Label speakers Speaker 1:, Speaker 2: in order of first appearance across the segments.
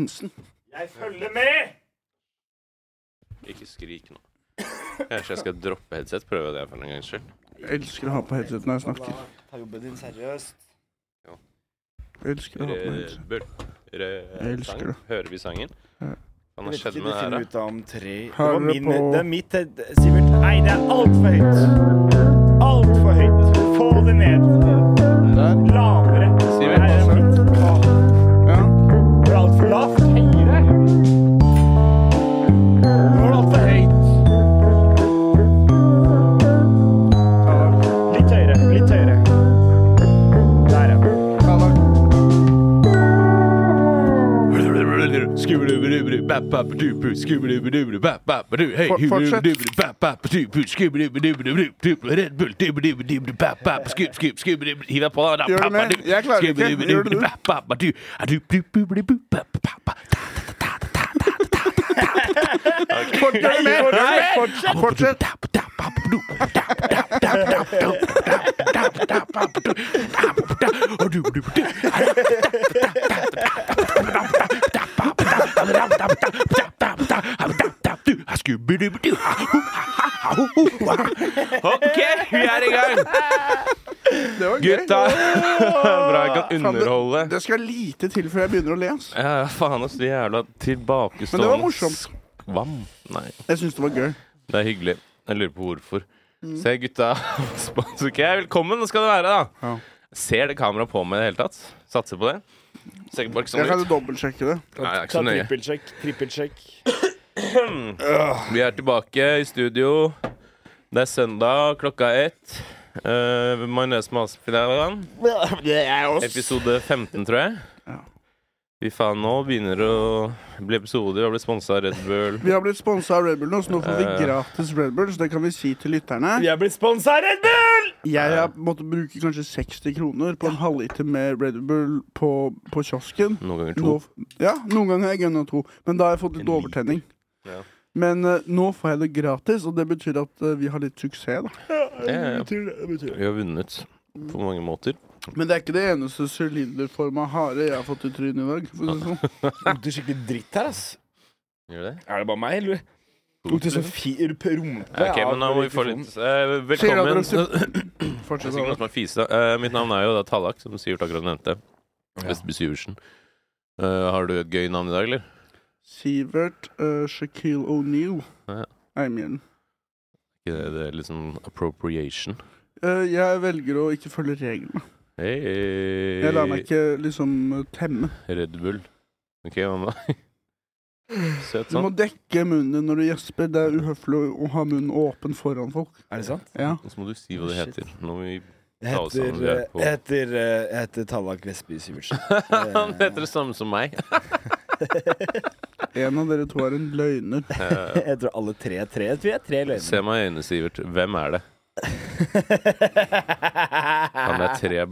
Speaker 1: Monsen.
Speaker 2: Jeg følger med!
Speaker 3: Ikke skrik nå. Kanskje jeg skal droppe headset? Prøve det for en gangs skyld.
Speaker 1: Jeg elsker å ha på headset når jeg snakker.
Speaker 2: Ta jobben din seriøst.
Speaker 1: Jeg elsker å ha på headset.
Speaker 3: Rødbøl.
Speaker 1: Jeg elsker
Speaker 3: Rødsang.
Speaker 1: det.
Speaker 3: Hører vi sangen?
Speaker 1: Ja.
Speaker 3: Hva har
Speaker 2: Jeg vet
Speaker 3: skjedd
Speaker 2: ikke,
Speaker 3: med det
Speaker 2: Du
Speaker 3: her,
Speaker 2: finner
Speaker 3: da?
Speaker 2: ut av om tre
Speaker 1: Her er
Speaker 2: Det var
Speaker 1: det
Speaker 2: min,
Speaker 1: på-
Speaker 2: det er mitt head, Sivert. Nei, det er altfor høyt. Altfor høyt. Få det ned.
Speaker 1: Der.
Speaker 2: Lavere.
Speaker 3: Sivert.
Speaker 2: Nei, det er mitt. Å,
Speaker 1: Ja.
Speaker 2: Det er altfor lavt. Høyere. Nå er det altfor høyt. Litt høyere. Litt høyere. Der, ja.
Speaker 1: Ja, da. For- fortsett.
Speaker 3: Hiv deg på, da.
Speaker 1: Gjør du mer? Jeg klarer ikke. Gjør det du? Fortsett med! Fortsett! Fortsett.
Speaker 3: OK, vi er i gang!
Speaker 1: Det var gøy.
Speaker 3: Gutta! Bra jeg kan underholde.
Speaker 1: Det skal lite til før jeg begynner å le. ass.
Speaker 3: Ja, ja, faen ass, de jævla tilbakestående
Speaker 1: Men det var morsomt.
Speaker 3: Skvam. Nei,
Speaker 1: Jeg syns det var gøy.
Speaker 3: det er hyggelig. Jeg lurer på hvorfor. Se, gutta. Spons- Ok, velkommen skal du være, da.
Speaker 1: Ja.
Speaker 3: Ser det kameraet på meg i det hele tatt? Satser på det? Ser ikke bare ikke
Speaker 1: Jeg
Speaker 3: sånn
Speaker 1: kan
Speaker 3: ut.
Speaker 1: dobbeltsjekke det.
Speaker 3: Nei, det er ikke
Speaker 2: Ta
Speaker 3: så nøye.
Speaker 2: trippelsjekk. Trippelsjekk.
Speaker 3: Vi er tilbake i studio. Det er søndag klokka ett. Uh, Majones med hasselfilet.
Speaker 2: Det er oss.
Speaker 3: Episode 15, tror jeg.
Speaker 1: Ja.
Speaker 3: Fy faen, nå begynner det å bli episoder. Vi har blitt sponsa av Red Bull.
Speaker 1: Vi har blitt sponsa av Red Bull nå, så nå får vi
Speaker 3: Eh.
Speaker 1: gratis Red Bull. Så det kan vi si til lytterne.
Speaker 2: Vi er blitt sponsa av Red Bull!
Speaker 1: Jeg har måttet bruke kanskje 60 kroner på en halvliter med Red Bull på, på kiosken.
Speaker 3: Noen ganger Mm. to.
Speaker 1: Nå, ja, noen ganger har jeg gønna to, men da har jeg fått litt
Speaker 3: En liter.
Speaker 1: overtenning.
Speaker 3: Ja.
Speaker 1: Men eh, nå får jeg det gratis, og det betyr at eh, vi har litt suksess, da.
Speaker 3: Ja, ja.
Speaker 2: det betyr
Speaker 3: Vi har vunnet på mange måter.
Speaker 1: Men det er ikke det eneste sylinderforma hare jeg har fått i trynet i dag. For å si det sånn.
Speaker 2: lukter skikkelig dritt her, ass.
Speaker 3: Gjør det?
Speaker 2: Er det bare meg, eller? Lukter sånn fir rumpe.
Speaker 3: Ok,
Speaker 2: av
Speaker 3: men da må vi få
Speaker 2: mikrofonen.
Speaker 3: litt eh,
Speaker 1: Sier at
Speaker 3: Velkommen.
Speaker 1: dere-
Speaker 3: Det er
Speaker 1: Fortsett.
Speaker 3: sikkert noen
Speaker 1: Adam.
Speaker 3: som har fisa. Eh, mitt navn er jo da Tallak, som Sivert akkurat nevnte. Vestby Syversen. Eh, har du et gøy navn i dag, eller?
Speaker 1: Sivert uh, Shaquille O'Neill.
Speaker 3: Ja.
Speaker 1: Eimien.
Speaker 3: Ikke Det, det er litt sånn appropriation.
Speaker 1: Eh, jeg velger å ikke følge reglene.
Speaker 3: Hey.
Speaker 1: Jeg lar meg ikke liksom temme.
Speaker 3: Red Bull. Ok, hva med deg? Søt
Speaker 1: Du må
Speaker 3: sånn.
Speaker 1: dekke munnen din når du gjesper. Det er uhøflig å- å ha munnen åpen foran folk.
Speaker 2: Er det sant?
Speaker 1: Ja.
Speaker 3: Og så må du si hva det
Speaker 2: Shit.
Speaker 3: heter. Nå må vi
Speaker 2: Jeg
Speaker 3: Ta oss
Speaker 2: heter,
Speaker 3: sammen, vi er
Speaker 2: eh,
Speaker 3: på-
Speaker 2: jeg heter, eh, jeg heter Tallak Vestby Syvertsen.
Speaker 3: Han heter det samme som meg.
Speaker 1: En av dere to er en løgner.
Speaker 3: Eh,
Speaker 2: Jeg tror alle tre er tre. Jeg tror jeg er tre
Speaker 3: se
Speaker 2: løgner.
Speaker 3: meg i øynene, Sivert. Hvem er det? Han er tre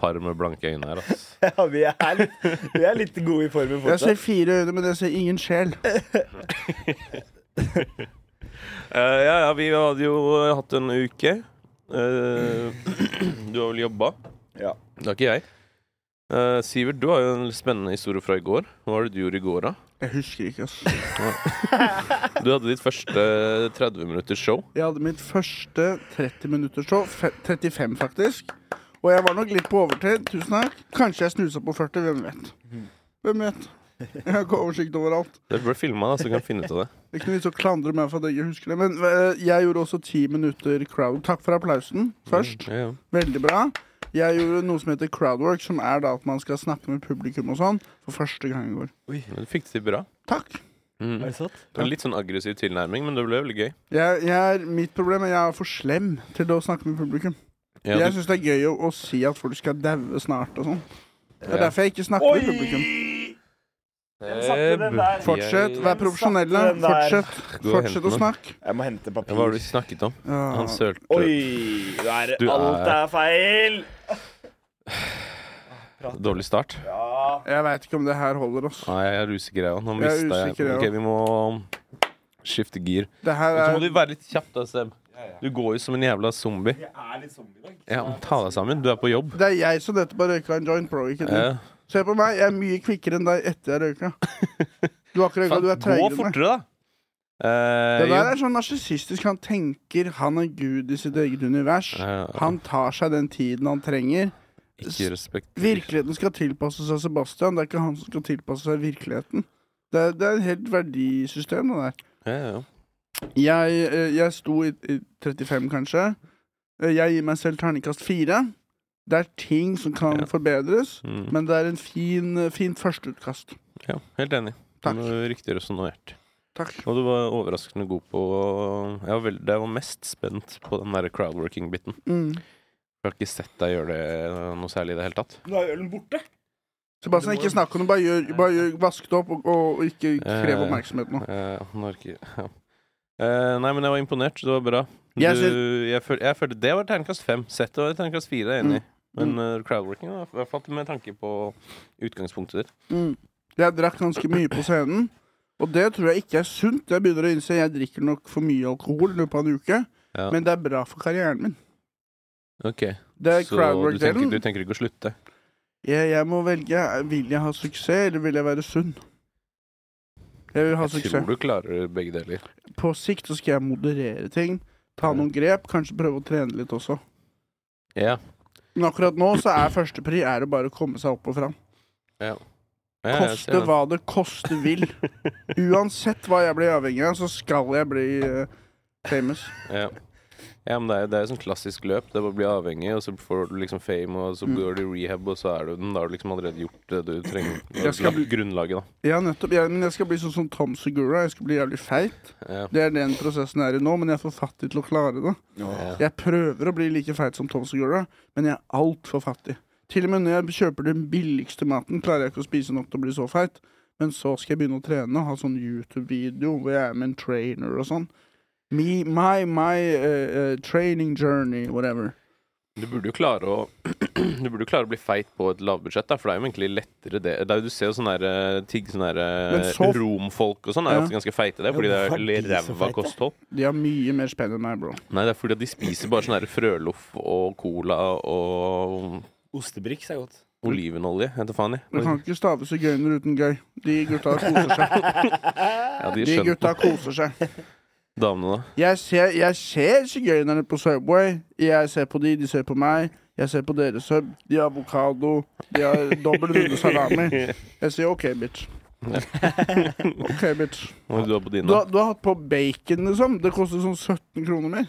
Speaker 3: par med blanke øyne her, ass.
Speaker 2: Ja, vi er, litt- vi er litt gode i formen
Speaker 1: Jeg ser
Speaker 2: fortsatt.
Speaker 1: fire øyne, men jeg ser ingen sjel.
Speaker 3: Eh, ja, ja, vi hadde jo eh, hatt en uke. Eh, du har vel jobba?
Speaker 2: Ja.
Speaker 3: Det har ikke jeg. Eh, Sivert, du har jo en spennende historie fra i går. Hva var det du gjorde i går, da?
Speaker 1: Jeg husker ikke, ass.
Speaker 3: Du hadde ditt første 30 minutters show.
Speaker 1: Jeg hadde mitt første 30 minutters show. fe- 35, faktisk. Og jeg var nok litt på overtid. Tusen takk. Kanskje jeg snusa på 40. Hvem vet? Hvem vet? Jeg har ikke oversikt over alt.
Speaker 3: Det ble filma, så du kan finne ut av det.
Speaker 1: Det er ikke noe vits å klandre meg for at jeg ikke husker det. Men eh, jeg gjorde også ti minutter crowd. Takk for applausen først.
Speaker 3: Mm, Ja, ja.
Speaker 1: Veldig bra. Jeg gjorde noe som heter crowdwork, som er da at man skal snakke med publikum og sånn, for første gang i går.
Speaker 3: Men Du fikk det til bra.
Speaker 1: Takk.
Speaker 3: Mm.
Speaker 2: det sant?
Speaker 3: Det var litt sånn aggressiv tilnærming, men det ble veldig gøy.
Speaker 1: Jeg, jeg er, mitt problem er at jeg er for slem til å snakke med publikum.
Speaker 3: Ja,
Speaker 1: jeg
Speaker 3: du,
Speaker 1: syns det er gøy å, å si at folk skal daue snart og sånn. Det er
Speaker 3: Ja.
Speaker 1: derfor jeg ikke snakker med publikum.
Speaker 2: Oi! Hvem satte
Speaker 3: Eh,
Speaker 2: den der?
Speaker 1: Fortsett, vær profesjonelle.
Speaker 2: Satte den der.
Speaker 1: Fortsett,
Speaker 3: Gå og hent
Speaker 1: fortsett å
Speaker 3: den.
Speaker 1: snakke.
Speaker 2: Jeg må hente
Speaker 3: Hva var det
Speaker 2: papir.
Speaker 3: vi snakket om?
Speaker 1: Ja.
Speaker 3: Han sølte
Speaker 2: Oi! Der,
Speaker 3: Du
Speaker 2: alt
Speaker 3: er-
Speaker 2: er feil!
Speaker 3: Dårlig start.
Speaker 2: Ja.
Speaker 1: Jeg veit ikke om det her holder, ass.
Speaker 3: Nei, jeg er usikker, jeg òg. Nå
Speaker 1: Jeg er
Speaker 3: mista jeg
Speaker 1: usikker, jeg
Speaker 3: Ok, vi må um, skifte gir.
Speaker 1: Det her
Speaker 3: Men så må
Speaker 1: er
Speaker 3: du være litt kjapp, da, Seb. Du går jo som en jævla zombie.
Speaker 2: Jeg er litt zombie i dag.
Speaker 3: Ja, men Ta deg sammen. Du er på jobb.
Speaker 1: Det er jeg som nettopp har røyka en joint, bro. Ikke du.
Speaker 3: Eh,
Speaker 1: Se på meg, jeg er mye kvikkere enn deg etter jeg røyka. Du har ikke røyka, du er
Speaker 3: Gå
Speaker 1: treigere enn meg.
Speaker 3: fortere, da. Eh,
Speaker 1: Det der
Speaker 3: jo.
Speaker 1: er sånn narsissistisk. Han tenker han er gud i sitt eget univers.
Speaker 3: Ja, ja.
Speaker 1: Han tar seg den tiden han trenger.
Speaker 3: Eh, Ikke respekt.
Speaker 1: Virkeligheten skal tilpasse seg Sebastian, det er ikke han som skal tilpasse seg virkeligheten. Det er, det er et helt verdisystem, det der.
Speaker 3: Ja, ja.
Speaker 1: Jeg, eh, jeg sto i, i 35, kanskje. Eh, Jeg gir meg selv terningkast fire. Det er ting som kan
Speaker 3: Ja.
Speaker 1: forbedres,
Speaker 3: Mm.
Speaker 1: men det er en fin, eh, fint førsteutkast.
Speaker 3: ja, helt enig.
Speaker 1: Takk.
Speaker 3: Det var Riktig resonnert.
Speaker 1: Takk.
Speaker 3: Og du var overraskende god på Jeg var, vel- jeg var mest spent på den der crowdworking-biten.
Speaker 1: Mm.
Speaker 3: Jeg har ikke sett deg gjøre det noe særlig i det hele tatt.
Speaker 2: Da er ølen borte.
Speaker 1: Sebastian, ikke snakk om det. Bare, gjør, bare gjør, vask det opp, og, og og ikke
Speaker 3: Eh,
Speaker 1: krev oppmerksomhet nå.
Speaker 3: Eh, han har ikke ja. Eh, Nei, men jeg var imponert. Det var bra. Du,
Speaker 1: Jeg
Speaker 3: jeg,
Speaker 1: syns-
Speaker 3: føl, jeg følte Det var terningkast fem. Settet var terningkast fire, jeg er
Speaker 1: Mm.
Speaker 3: enig. i. Men eh, crowdworking, da, i hvert fall med tanke på utgangspunktet ditt.
Speaker 1: Mm. Jeg drakk ganske mye på scenen, og det tror jeg ikke er sunt. Jeg begynner å innse jeg drikker nok for mye alkohol i løpet av en uke,
Speaker 3: Ja.
Speaker 1: men det er bra for karrieren min.
Speaker 3: Ok,
Speaker 1: Det er
Speaker 3: Så du tenker, du
Speaker 1: crowdwork-delen.
Speaker 3: tenker ikke å slutte?
Speaker 1: Jeg, jeg må velge. Vil jeg ha suksess, eller vil jeg være sunn? Jeg vil ha
Speaker 3: Jeg
Speaker 1: suksess.
Speaker 3: tror du klarer begge deler.
Speaker 1: På sikt så skal jeg moderere ting. Ta noen grep, kanskje prøve å trene litt også.
Speaker 3: Ja.
Speaker 1: Men akkurat nå så er førstepri er det bare å komme seg opp og fram.
Speaker 3: Ja, jeg ser
Speaker 1: Koste
Speaker 3: den.
Speaker 1: hva det koste vil. Uansett hva jeg blir avhengig av, så skal jeg bli eh, famous.
Speaker 3: Ja. ja, men det er jo det er jo sånn klassisk løp. Det er bare å bli avhengig, og så får du liksom fame, og så
Speaker 1: Mm.
Speaker 3: går du i rehab, og så er du den. Da har du liksom allerede gjort det du trenger. Du
Speaker 1: Jeg
Speaker 3: har
Speaker 1: skal
Speaker 3: lagt grunnlaget,
Speaker 1: Ja, nettopp. Jeg, men jeg skal bli sånn som Tom Segura. Jeg skal bli jævlig feit.
Speaker 3: da. Ja.
Speaker 1: Det er den prosessen jeg er i nå, men jeg er for fattig til å klare det.
Speaker 3: Ja.
Speaker 1: Jeg prøver å bli like feit som Tom Segura, men jeg er altfor fattig. Til og med når jeg kjøper den billigste maten, klarer jeg ikke å spise nok til å bli så feit. Men så skal jeg begynne å trene og ha sånn YouTube-video hvor jeg er med en trainer og sånn. Me, my, my eh, eh, training journey, whatever.
Speaker 3: Du burde jo klare å Du burde jo klare å bli feit på et lavbudsjett, da, for det er jo egentlig lettere det. det er, jo- du ser jo sånne der, eh, tigg sånne der, eh,
Speaker 1: Men så-
Speaker 3: romfolk og sånn, er jo
Speaker 1: Ja.
Speaker 3: ofte ganske feite, det,
Speaker 4: Ja,
Speaker 3: fordi
Speaker 4: hvorfor er
Speaker 3: det
Speaker 4: de
Speaker 3: er
Speaker 4: så
Speaker 3: ræva
Speaker 4: feite?
Speaker 3: kosthold.
Speaker 1: De har mye mer spenn enn meg, bro.
Speaker 3: Nei, det er fordi at de spiser bare sånn der frøloff og cola og
Speaker 4: Ostebriks er godt.
Speaker 3: olivenolje, heter faen
Speaker 1: Du
Speaker 3: jeg.
Speaker 1: kan ikke stave sigøyner uten gøy. De gutta koser seg.
Speaker 3: Ja, de
Speaker 1: De
Speaker 3: skjønte
Speaker 1: gutta koser seg.
Speaker 3: damene, da.
Speaker 1: Jeg ser, jeg ser sigøynerne på Subway. Jeg ser på de, de ser på meg. Jeg ser på deres sub. De har avokado. De har dobbel runde salami. Jeg sier OK, bitch. OK, bitch.
Speaker 3: Når du er på dine.
Speaker 1: Du, har- du har hatt på bacon, liksom. Det koster sånn 17 kroner mer.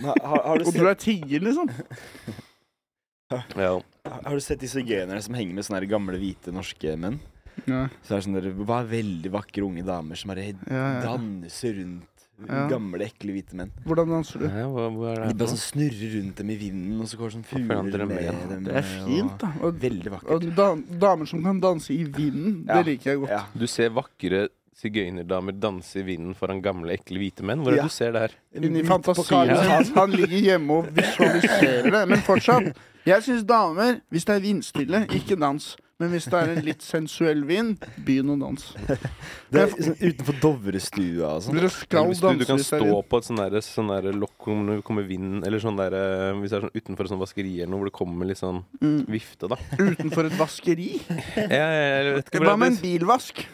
Speaker 4: Men Har, har, har, du
Speaker 1: Og du
Speaker 4: sett,
Speaker 1: er tier, liksom.
Speaker 3: Ja.
Speaker 4: har du sett disse generne som henger med sånne her gamle hvite norske menn?
Speaker 1: Ja,
Speaker 4: Så er det sånne der, bare veldig vakre unge damer som bare
Speaker 1: ja, ja.
Speaker 4: danser rundt
Speaker 1: Ja.
Speaker 4: gamle, ekle hvite menn.
Speaker 1: Hvordan danser du?
Speaker 3: Nei, hva, hva er det
Speaker 4: De bare
Speaker 3: her for noe?
Speaker 4: sånn snurrer rundt dem i vinden, og så går det sånn fugler
Speaker 3: forandrer
Speaker 4: med
Speaker 3: med, ja.
Speaker 4: dem.
Speaker 1: Det er fint, da.
Speaker 4: og-
Speaker 1: Og,
Speaker 4: Veldig
Speaker 1: og
Speaker 4: vakkert.
Speaker 1: dam, damer som kan danse i vinden,
Speaker 4: Ja.
Speaker 1: det liker jeg godt.
Speaker 4: Ja.
Speaker 3: Du ser vakre sigøynerdamer danse i vinden foran gamle, ekle hvite menn. Hvor er det
Speaker 4: Ja.
Speaker 3: du ser det her?
Speaker 1: Inni
Speaker 4: Midt på
Speaker 1: fantasien
Speaker 4: Karl Johan.
Speaker 1: hans. Han ligger hjemme og visualiserer det. Men fortsatt, jeg syns damer, hvis det er vindstille, ikke dans. Men hvis det er en litt sensuell vind, begynn å danse.
Speaker 4: Det er sånn utenfor Dovrestua og sånn.
Speaker 1: Dere skal
Speaker 3: hvis du,
Speaker 1: danse
Speaker 3: du kan
Speaker 1: hvis det er
Speaker 3: stå
Speaker 1: vind.
Speaker 3: på et sånn derre sånn der lokk om det kommer vind, eller sånn derre Hvis det er sånn utenfor et sånt vaskeri eller noe, hvor det kommer litt sånn
Speaker 1: Mm.
Speaker 3: vifte, da.
Speaker 1: Utenfor et vaskeri.
Speaker 3: Jeg, jeg, jeg vet ikke
Speaker 1: Hva
Speaker 3: hvordan
Speaker 1: med en
Speaker 3: det
Speaker 1: bilvask?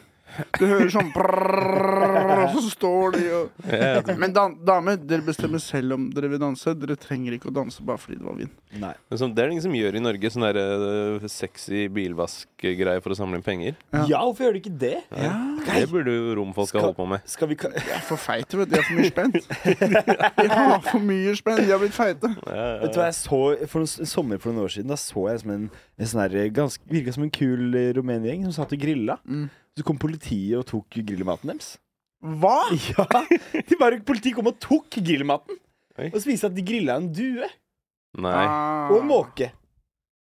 Speaker 1: Du hører sånn prrrr, og så står de og
Speaker 3: jeg, jeg,
Speaker 1: Men dan damer, dere bestemmer selv om dere vil danse. Dere trenger ikke å danse bare fordi det var vind.
Speaker 4: Nei.
Speaker 3: men sånn, Det er det ingen som gjør i Norge, sånn derre øh, sexy bilvaskgreie for å samle inn penger.
Speaker 1: Ja.
Speaker 4: Ja, hvorfor gjør du ikke det?
Speaker 3: Det burde jo romfolk ha
Speaker 4: Skal-
Speaker 3: holdt på med.
Speaker 4: Skal vi ka
Speaker 1: De er for feite, vet du. De har for mye spenn. De har for mye spenn. De har blitt feite.
Speaker 4: Vet du hva jeg så for noen, en sommer for noen år siden? Da så jeg som en, en sånn her ganske Virka som en kul eh, rumengjeng som satt og grilla.
Speaker 1: Mm.
Speaker 4: Så kom politiet og tok grillmaten deres.
Speaker 1: Hva?
Speaker 4: Ja! De bare, politiet kom og tok grillmaten!
Speaker 3: Oi.
Speaker 4: Og så viste det at de grilla en due
Speaker 3: Nei.
Speaker 1: Ah.
Speaker 4: og en måke.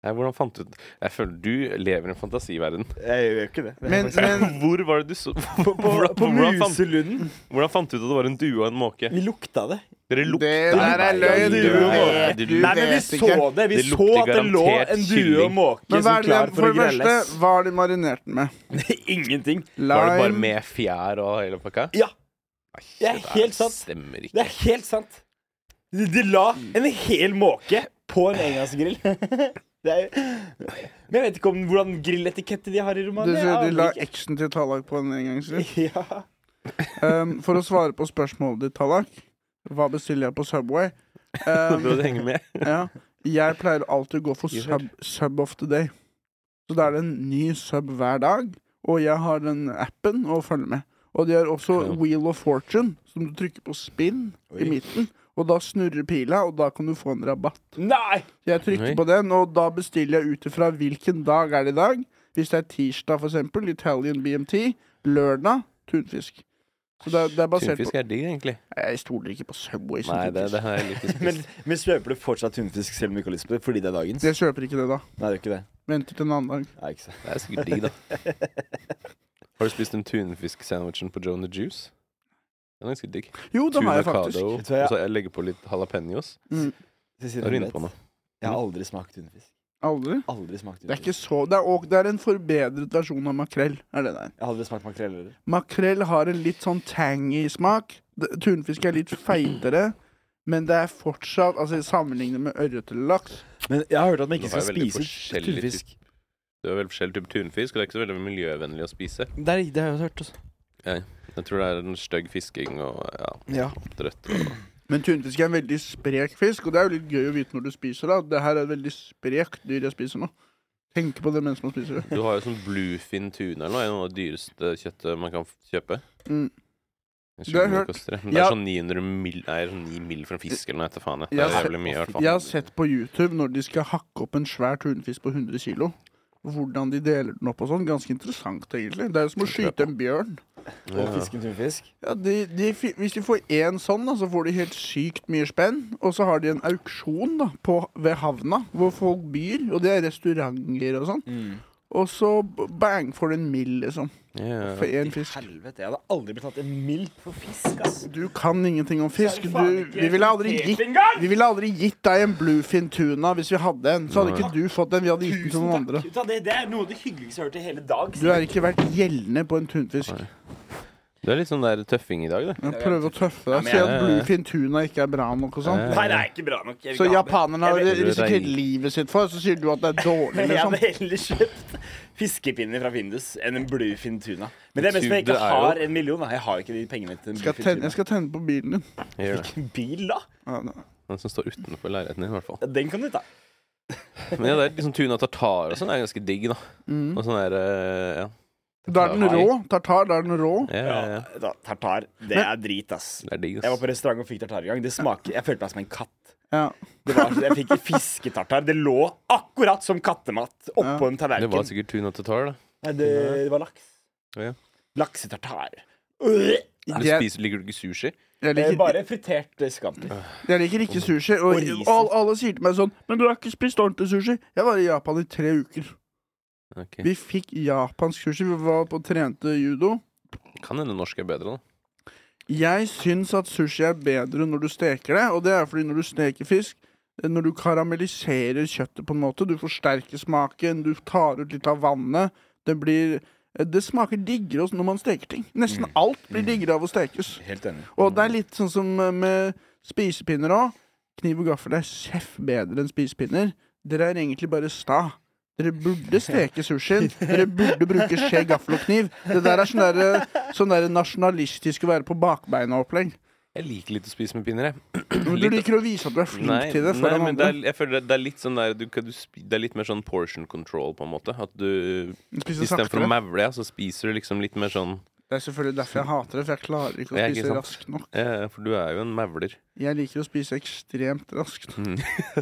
Speaker 3: Nei, hvordan fant du ut Jeg føler du lever i en fantasiverden.
Speaker 4: Jeg gjør jo ikke det.
Speaker 1: Men, men
Speaker 3: Hvor var det du så
Speaker 4: på, på,
Speaker 3: hvordan-
Speaker 4: på
Speaker 3: hvordan fant-
Speaker 4: Muselunden.
Speaker 3: Hvordan fant du ut at det var en due og en måke?
Speaker 4: Vi lukta det.
Speaker 3: Dere
Speaker 1: Det
Speaker 3: lukta
Speaker 1: der er løgn.
Speaker 4: Du
Speaker 1: vet-
Speaker 3: vet-
Speaker 1: du
Speaker 4: Nei, men vi
Speaker 1: vet
Speaker 4: så
Speaker 1: ikke.
Speaker 4: det. Vi
Speaker 3: Det
Speaker 4: så
Speaker 3: lukter
Speaker 4: at det lå
Speaker 3: garantert
Speaker 4: en due og
Speaker 3: kylling.
Speaker 4: måke
Speaker 1: Men hva
Speaker 4: som
Speaker 1: er det,
Speaker 4: klar
Speaker 1: for
Speaker 4: for å
Speaker 1: det første,
Speaker 4: grilles.
Speaker 1: hva har de marinert den med?
Speaker 4: Ingenting.
Speaker 3: Var det bare
Speaker 1: Lime,
Speaker 3: med fjær og hele pakka?
Speaker 4: Ja,
Speaker 3: Nei,
Speaker 4: Det er
Speaker 3: shit,
Speaker 4: helt sant.
Speaker 3: stemmer
Speaker 4: det
Speaker 3: ikke.
Speaker 4: er Mm. helt sant. De, de la en hel måke på en engangsgrill. Det er, men jeg vet ikke om hvordan grilletiketter de har i
Speaker 1: Du,
Speaker 4: Romania.
Speaker 1: de
Speaker 4: Jeg
Speaker 1: la
Speaker 4: aner ikke.
Speaker 1: eksen til Tallak på en engangsrett.
Speaker 4: Ja.
Speaker 1: Um, for å svare på spørsmålet ditt, Tallak Hva bestiller jeg på Subway? Um,
Speaker 3: Prøvde å henge med.
Speaker 1: ja, jeg pleier alltid å gå for
Speaker 3: Gjør.
Speaker 1: sub, sub of the day. Så da er det en ny sub hver dag, og jeg har den appen å følge med. Og de har også
Speaker 3: Ja.
Speaker 1: Wheel of Fortune, som du trykker på spinn
Speaker 4: Oi.
Speaker 1: i midten. Og da snurrer pila, og da kan du få en rabatt.
Speaker 4: Nei!
Speaker 1: Så jeg trykker
Speaker 3: Oi.
Speaker 1: på den, og da bestiller jeg ut ifra hvilken dag er det i dag. Hvis det er tirsdag, for eksempel, Italian BMT. Lørdag, tunfisk. Så det, er- det er basert
Speaker 3: Tunfisk er digg, egentlig.
Speaker 1: på Jeg stoler ikke på Subway. som
Speaker 3: Nei, det,
Speaker 1: tunfisk.
Speaker 3: det har jeg ikke
Speaker 4: Men,
Speaker 3: spist.
Speaker 4: men svøper du fortsatt tunfisk selv om du ikke har lyst på det, fordi det er dagens?
Speaker 1: Jeg kjøper ikke det, da.
Speaker 4: Nei, det er ikke det.
Speaker 1: Venter til en annen dag.
Speaker 4: Nei, ikke sant.
Speaker 3: Det er sikkert digg, da. Har du spist den tunfisk-sandwichen på Joe and the Juice? Den er ganske digg.
Speaker 1: Jo, det har jeg faktisk.
Speaker 3: Tunacado,
Speaker 4: Vet
Speaker 3: og
Speaker 4: du hva, jeg-
Speaker 3: så jeg legger på litt jalapeños.
Speaker 1: Mm,
Speaker 3: Da er du inne på noe.
Speaker 4: Jeg har aldri smakt tunfisk.
Speaker 1: aldri.
Speaker 4: Aldri smakt
Speaker 1: Det er ikke
Speaker 4: tunfisk.
Speaker 1: så det er, og det er en forbedret versjon av makrell. er det der.
Speaker 4: Jeg har aldri smakt makrell heller.
Speaker 1: Makrell har en litt sånn tangy smak. Det- Tunfisk er litt feitere. Men det er fortsatt altså Sammenlignet med ørretlaks.
Speaker 4: Men jeg har hørt at man
Speaker 3: Du
Speaker 4: ikke
Speaker 3: har
Speaker 4: skal
Speaker 3: jo veldig
Speaker 4: spise
Speaker 3: forskjellig
Speaker 4: tunfisk.
Speaker 3: Det er veldig forskjellig type tunfisk, og det er ikke så veldig miljøvennlig å spise.
Speaker 4: Det, er, det har jeg hørt altså. også.
Speaker 3: Jeg tror det er en stygg fisking og ja,
Speaker 4: Ja.
Speaker 3: oppdrett og
Speaker 1: Men tunfisk er en veldig sprek fisk, og det er jo litt gøy å vite når du spiser det. at Det her er et veldig sprekt dyr jeg spiser nå. Tenk på det mens man spiser det.
Speaker 3: Du har jo sånn bluefin tuna eller noe, er jo noe av det dyreste kjøttet man kan f- kjøpe.
Speaker 1: Mm.
Speaker 3: Jeg
Speaker 1: Det har
Speaker 3: skjønner
Speaker 1: jeg
Speaker 3: ikke hva
Speaker 1: hørt.
Speaker 3: det koster, men det
Speaker 1: Ja.
Speaker 3: er sånn 900 mil Nei, sånn 9 mil for en fisk eller noe, jeg vet da faen. jeg. Det
Speaker 1: Jeg
Speaker 3: er
Speaker 1: har
Speaker 3: jævlig mye, i hvert fall.
Speaker 1: Jeg har sett på YouTube når de skal hakke opp en svær tunfisk på 100 kg. Hvordan de deler den opp og sånn. Ganske interessant, egentlig. Det er jo som å skyte en bjørn.
Speaker 4: Og
Speaker 3: Ja.
Speaker 4: fisken tunfisk.
Speaker 1: Ja, de, de, fi- hvis de får én sånn, da, så får de helt sykt mye spenn. Og så har de en auksjon da, på, ved havna, hvor folk byr. Og det er restauranter og sånn.
Speaker 3: Mm.
Speaker 1: Og så b- bang får du en mild, liksom.
Speaker 3: Ja.
Speaker 1: For én fisk.
Speaker 4: Helvete, jeg hadde aldri blitt tatt en mild for fisk, ass.
Speaker 1: Du kan ingenting om fisk.
Speaker 4: Det er
Speaker 1: Du,
Speaker 4: faen ikke
Speaker 1: vi ville aldri
Speaker 4: helt
Speaker 1: gitt
Speaker 4: engang!
Speaker 1: vi ville aldri gitt deg en bluefin tuna hvis vi hadde en. Så hadde
Speaker 3: Nei.
Speaker 1: ikke du fått den. Vi hadde gitt den til
Speaker 4: Tusen
Speaker 1: noen
Speaker 4: takk.
Speaker 1: andre.
Speaker 4: Vet du hva, Det, det er noe av det hyggeligste jeg har hørt i hele dag.
Speaker 1: Du har ikke vært gjeldende på en tunfisk.
Speaker 3: Nei. Du er litt sånn der tøffing i dag, du.
Speaker 1: Men Prøv å tøffe deg. Si
Speaker 4: Ja,
Speaker 1: at
Speaker 3: men jeg-
Speaker 1: bluefin tuna ikke er bra nok og sånn.
Speaker 3: Eh,
Speaker 4: Nei, det er ikke bra nok. Jeg vil
Speaker 1: Så
Speaker 4: ikke ha det.
Speaker 1: japanerne har
Speaker 4: Jeg vil-
Speaker 1: risikert livet sitt for, så sier du at det er dårlig,
Speaker 4: Jeg hadde
Speaker 1: liksom.
Speaker 4: heller kjøpt fiskepinner fra Findus enn en bluefin tuna. Men det er mest fordi jeg
Speaker 3: Det
Speaker 4: ikke
Speaker 3: er jo-
Speaker 4: har en million. da. Jeg har ikke de pengene til en
Speaker 1: Skal
Speaker 4: bluefin
Speaker 1: tenne,
Speaker 4: tuna.
Speaker 1: jeg skal tenne på bilen din.
Speaker 3: jeg gjør det.
Speaker 4: Hvilken bil, da?
Speaker 1: Ja, da.
Speaker 3: Den som står utenfor leiligheten din, i hvert fall.
Speaker 4: Ja, Den kan du ta.
Speaker 3: Men ja, det er liksom tuna tartar og sånn er ganske digg, da.
Speaker 1: Mm.
Speaker 3: Og sånn der eh, ja.
Speaker 1: Da er den rå. Tartar, da er den rå.
Speaker 3: Ja, ja, ja.
Speaker 4: da, tartar, det er drit, ass.
Speaker 3: Det er digg,
Speaker 4: Jeg var
Speaker 3: ass.
Speaker 4: på restaurant og fikk tartar i gang. Det smaker, Jeg følte meg som en katt.
Speaker 1: Ja.
Speaker 4: Det var, jeg fikk fisketartar. Det lå akkurat som kattemat oppå en
Speaker 3: Det var
Speaker 4: tallerken.
Speaker 3: sikkert tuna tartar, da.
Speaker 4: Nei, det, det var laks.
Speaker 3: Ja.
Speaker 4: Laksetartar.
Speaker 3: Du
Speaker 1: Jeg,
Speaker 3: spiser, liker du ikke sushi?
Speaker 1: jeg,
Speaker 4: Eh,
Speaker 1: liker,
Speaker 4: Bare fritert eh, scampi.
Speaker 1: jeg liker ikke sushi. Og,
Speaker 4: Og
Speaker 1: og
Speaker 4: risen.
Speaker 1: alle- alle sier til meg sånn 'Men du har ikke spist ordentlig sushi.' Jeg var i Japan i tre uker.
Speaker 3: Ok.
Speaker 1: Vi fikk japansk sushi. Vi var på og trente judo.
Speaker 3: Kan hende norsk er bedre, da.
Speaker 1: Jeg syns at sushi er bedre når du steker det, og det er fordi når du steker fisk eh, når du karamelliserer kjøttet på en måte, du forsterker smaken, du tar ut litt av vannet. Det blir eh, Det smaker diggere også når man steker ting. Nesten alt blir diggere av å stekes.
Speaker 4: Helt enig.
Speaker 1: Og det er litt sånn som eh, med spisepinner òg. Kniv og gaffel er sjef bedre enn spisepinner. Dere er egentlig bare sta. Dere burde steke sushien. Dere burde bruke skje, gaffel og kniv. Det der er sånn der, sånn der nasjonalistisk å være på bakbeina-opplegg.
Speaker 3: Jeg liker litt å spise med pinner, jeg.
Speaker 1: Du
Speaker 3: Litt-
Speaker 1: liker å vise at du er flink
Speaker 3: Nei,
Speaker 1: til det
Speaker 3: nei
Speaker 1: foran
Speaker 3: men det
Speaker 1: andre.
Speaker 3: er, jeg føler det, det er litt sånn der du, kan- du, spi- Det er litt mer sånn portion control, på en måte. At du
Speaker 1: Spise
Speaker 3: istedenfor å
Speaker 1: saktere.
Speaker 3: mevle, ja, så spiser du liksom litt mer sånn
Speaker 1: Det er selvfølgelig derfor jeg hater det, for jeg klarer ikke å
Speaker 3: Ja, ikke
Speaker 1: spise
Speaker 3: sant.
Speaker 1: raskt nok.
Speaker 3: eh, For du er jo en mevler.
Speaker 1: Jeg liker å spise ekstremt raskt.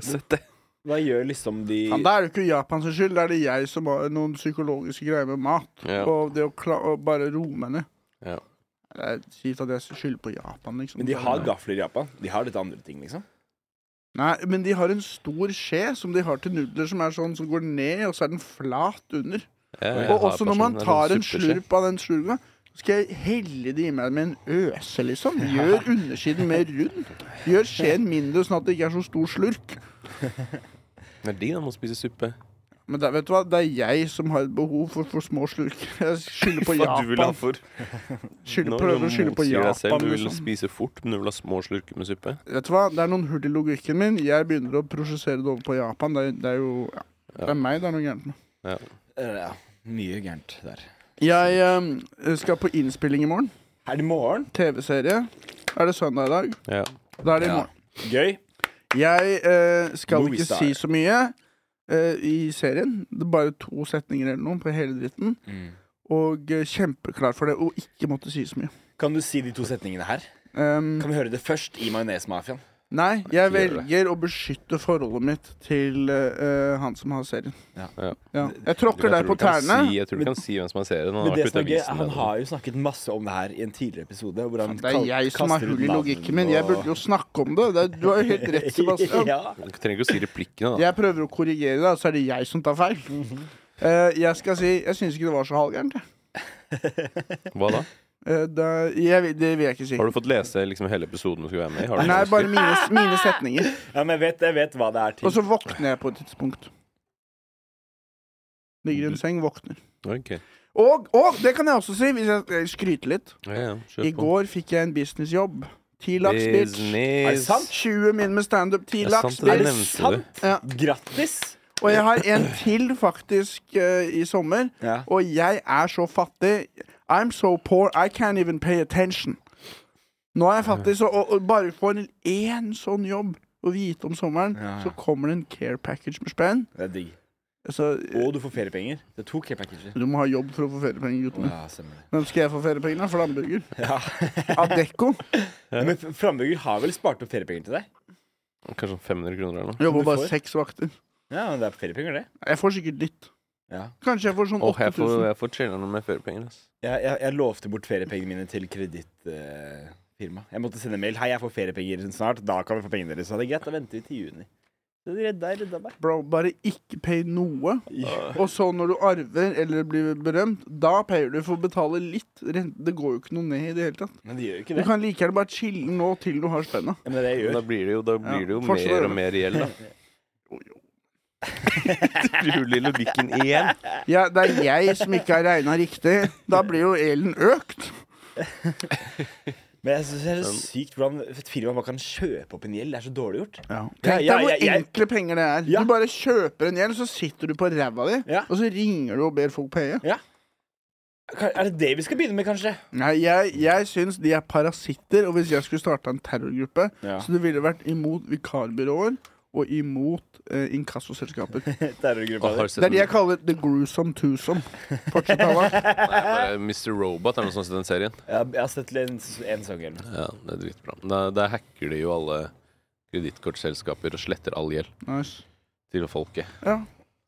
Speaker 3: Sett det.
Speaker 4: Hva gjør liksom de
Speaker 1: Ja, da er det jo ikke Japans skyld, da er det jeg som har noen psykologiske greier med mat.
Speaker 3: Ja.
Speaker 1: Og det å kla og bare roe meg ned.
Speaker 3: Ja.
Speaker 1: Det er kjipt at jeg skylder på Japan, liksom.
Speaker 4: Men de har gafler i Japan. De har litt andre ting, liksom.
Speaker 1: Nei, men de har en stor skje som de har til nudler, som er sånn som går ned, og så er den flat under.
Speaker 3: Jeg,
Speaker 1: og
Speaker 3: har
Speaker 1: også når
Speaker 3: personlig-
Speaker 1: man
Speaker 3: det er
Speaker 1: tar
Speaker 3: sånn
Speaker 1: en
Speaker 3: suppeskje.
Speaker 1: slurp av den slurva, skal jeg helle det i meg med en øse, liksom. Gjør undersiden mer rund. Gjør skjeen mindre, sånn at det ikke er så stor slurk.
Speaker 3: Det er digg da, med å spise suppe.
Speaker 1: Men det, vet du hva, det er jeg som har et behov for for små slurk. Jeg skylder på
Speaker 3: Hva du vil ha
Speaker 1: Japan.
Speaker 3: for.
Speaker 1: Skylder,
Speaker 3: Nå
Speaker 1: prøver å skylde på
Speaker 3: motsier deg selv.
Speaker 1: Japan.
Speaker 3: Du vil
Speaker 1: Liksom.
Speaker 3: spise fort, men du vil ha små slurker med suppe.
Speaker 1: Vet du hva, det er noen hull i logikken min. Jeg begynner å prosjessere det over på Japan. Det, er- det er jo ja. Det er meg det er noe gærent med. Eh,
Speaker 4: Ja, mye gærent der.
Speaker 1: Jeg eh, skal på innspilling i morgen.
Speaker 4: Er det i morgen?
Speaker 1: TV-serie. Er det søndag i dag?
Speaker 3: Ja.
Speaker 1: Da er det i
Speaker 4: Ja.
Speaker 1: morgen.
Speaker 4: Gøy.
Speaker 1: Jeg eh, skal
Speaker 4: Movie
Speaker 1: ikke
Speaker 4: star.
Speaker 1: si så mye eh, i serien. Det er bare to setninger eller noe på hele dritten. Og eh, kjempeklar for det, og ikke måtte si så mye.
Speaker 4: Kan du si de to setningene her?
Speaker 1: Um,
Speaker 4: Kan vi høre det først i Majonesmafiaen?
Speaker 1: nei, jeg
Speaker 4: gjør det.
Speaker 1: velger å beskytte forholdet mitt til eh, han som har serien.
Speaker 3: Ja.
Speaker 1: Ja. Jeg tråkker
Speaker 3: Jeg
Speaker 1: der
Speaker 3: tror
Speaker 1: på
Speaker 3: du kan
Speaker 1: tærne.
Speaker 3: Si, jeg tror du kan si hvem som har serien. Han
Speaker 4: Men
Speaker 3: har
Speaker 4: det
Speaker 3: vært
Speaker 4: som
Speaker 3: ute
Speaker 4: er
Speaker 3: i
Speaker 4: gøy,
Speaker 3: avisen.
Speaker 4: Han
Speaker 3: med det.
Speaker 4: har jo snakket masse om det her i en tidligere episode. Hvor han
Speaker 1: Det er
Speaker 4: kal-
Speaker 1: jeg som har
Speaker 4: kaster
Speaker 1: hull
Speaker 4: ut
Speaker 1: i
Speaker 4: navn
Speaker 1: logikken min.
Speaker 4: og-
Speaker 1: Jeg burde jo snakke om det. det er, du har jo helt rett, Sebastian.
Speaker 4: ja.
Speaker 3: Du trenger ikke å si replikkene, da.
Speaker 1: Jeg prøver å korrigere deg, så er det jeg som tar feil.
Speaker 4: Mhm.
Speaker 1: Eh, jeg skal si Jeg syns ikke det var så halvgærent. jeg.
Speaker 3: Hva da?
Speaker 1: Eh, det, jeg vil- det vil jeg ikke si.
Speaker 3: Har du fått lese liksom, hele episoden du skulle være med i? Har du
Speaker 1: Nei,
Speaker 3: lest
Speaker 1: bare mine, mine setninger.
Speaker 4: ja, men jeg vet, jeg vet hva det er
Speaker 1: Og
Speaker 4: til.
Speaker 1: så våkner jeg på et tidspunkt. Ligger i en seng, våkner.
Speaker 3: den? Ok.
Speaker 1: Og, og det kan jeg også si, hvis jeg skal skryte litt.
Speaker 3: Ja, ja, kjør
Speaker 1: I
Speaker 3: på.
Speaker 1: går fikk jeg en businessjobb. Ti laks, bitch.
Speaker 3: Business.
Speaker 4: Er det sant?
Speaker 1: 20 min med standup. Ti
Speaker 3: Ja,
Speaker 1: laks,
Speaker 3: sant
Speaker 1: bitch.
Speaker 3: det.
Speaker 4: Er det
Speaker 3: nevnte
Speaker 4: sant?
Speaker 1: Ja.
Speaker 4: Grattis!
Speaker 1: Og jeg har en til, faktisk, eh, i sommer.
Speaker 4: Ja.
Speaker 1: Og jeg er så fattig. I'm so poor, I can't even pay attention. Nå er jeg fattig, så og, og bare få en én sånn jobb og vite om sommeren,
Speaker 4: Ja, ja.
Speaker 1: så kommer det en care package med spenn.
Speaker 4: Det er digg.
Speaker 1: Altså,
Speaker 4: Og du får feriepenger. Det er to care packages.
Speaker 1: du må ha jobb for å få feriepenger, gutten.
Speaker 4: Ja, stemmer det.
Speaker 1: Hvem skal jeg få feriepenger av? For landburger?
Speaker 4: Ja.
Speaker 1: Adecco.
Speaker 4: Men F- Frambygger har vel spart opp feriepenger til deg?
Speaker 3: Kanskje sånn 500 kroner eller noe.
Speaker 1: Jobber
Speaker 4: Du får.
Speaker 1: bare seks vakter.
Speaker 4: Ja, men det er feriepenger, det.
Speaker 1: Jeg får sikkert litt.
Speaker 4: Ja.
Speaker 1: Kanskje jeg får sånn
Speaker 3: Åh, jeg får,
Speaker 1: 8000.
Speaker 3: jeg får chiller'n med feriepenger. ass.
Speaker 4: Jeg, jeg, jeg lovte bort feriepengene mine til kredittfirma. jeg måtte sende mail. 'Hei, jeg får feriepenger snart. Da kan vi få pengene deres.' Så det er greit, da venter vi til juni. Så de redda, redda meg.
Speaker 1: Bro, bare ikke pay noe.
Speaker 4: Ja.
Speaker 1: Og så når du arver eller blir berømt, da payer du for å betale litt. Rent- Det går jo ikke noe ned i det hele tatt.
Speaker 4: Men de gjør jo ikke
Speaker 1: Du
Speaker 4: det.
Speaker 1: kan like gjerne bare chille nå til du har spenna.
Speaker 4: Ja, men det er det jeg
Speaker 3: Men da
Speaker 4: gjør.
Speaker 3: blir det jo, da blir det jo
Speaker 1: fortsatt er
Speaker 3: mer
Speaker 1: det.
Speaker 3: og mer gjeld, da. Det ruller i logikken igjen.
Speaker 1: Ja, det er jeg som ikke har regna riktig. Da blir jo elen økt.
Speaker 4: Men jeg synes det er så sykt hvordan et firma bare kan kjøpe opp en gjeld. Det er så dårlig gjort.
Speaker 1: Tenk
Speaker 4: Ja,
Speaker 1: deg hvor
Speaker 4: jeg- jeg-
Speaker 1: enkle penger det er.
Speaker 4: Ja.
Speaker 1: Du bare kjøper en gjeld, så sitter du på ræva di,
Speaker 4: Ja.
Speaker 1: og så ringer du og ber folk paye.
Speaker 4: Ka- Er det det vi skal begynne med, kanskje?
Speaker 1: Nei, jeg, jeg syns de er parasitter, og hvis jeg skulle starta en terrorgruppe,
Speaker 4: Ja.
Speaker 1: så det ville vært imot vikarbyråer og imot eh, inkassoselskaper.
Speaker 4: Terrorgruppa
Speaker 3: Åh, har
Speaker 4: di.
Speaker 3: du
Speaker 1: Det
Speaker 3: sett
Speaker 1: er de
Speaker 3: den?
Speaker 1: jeg kaller the gruesome twosome. Fortsett, Halla.
Speaker 3: Nei, bare Mr. Robot er noe sånt i den serien.
Speaker 4: Jeg jeg har sett en, en sånn gjeld.
Speaker 3: Ja, det er dritbra. Da- Der hacker de jo alle kredittkortselskaper og sletter all gjeld
Speaker 1: Nice.
Speaker 3: til folket.
Speaker 1: Ja.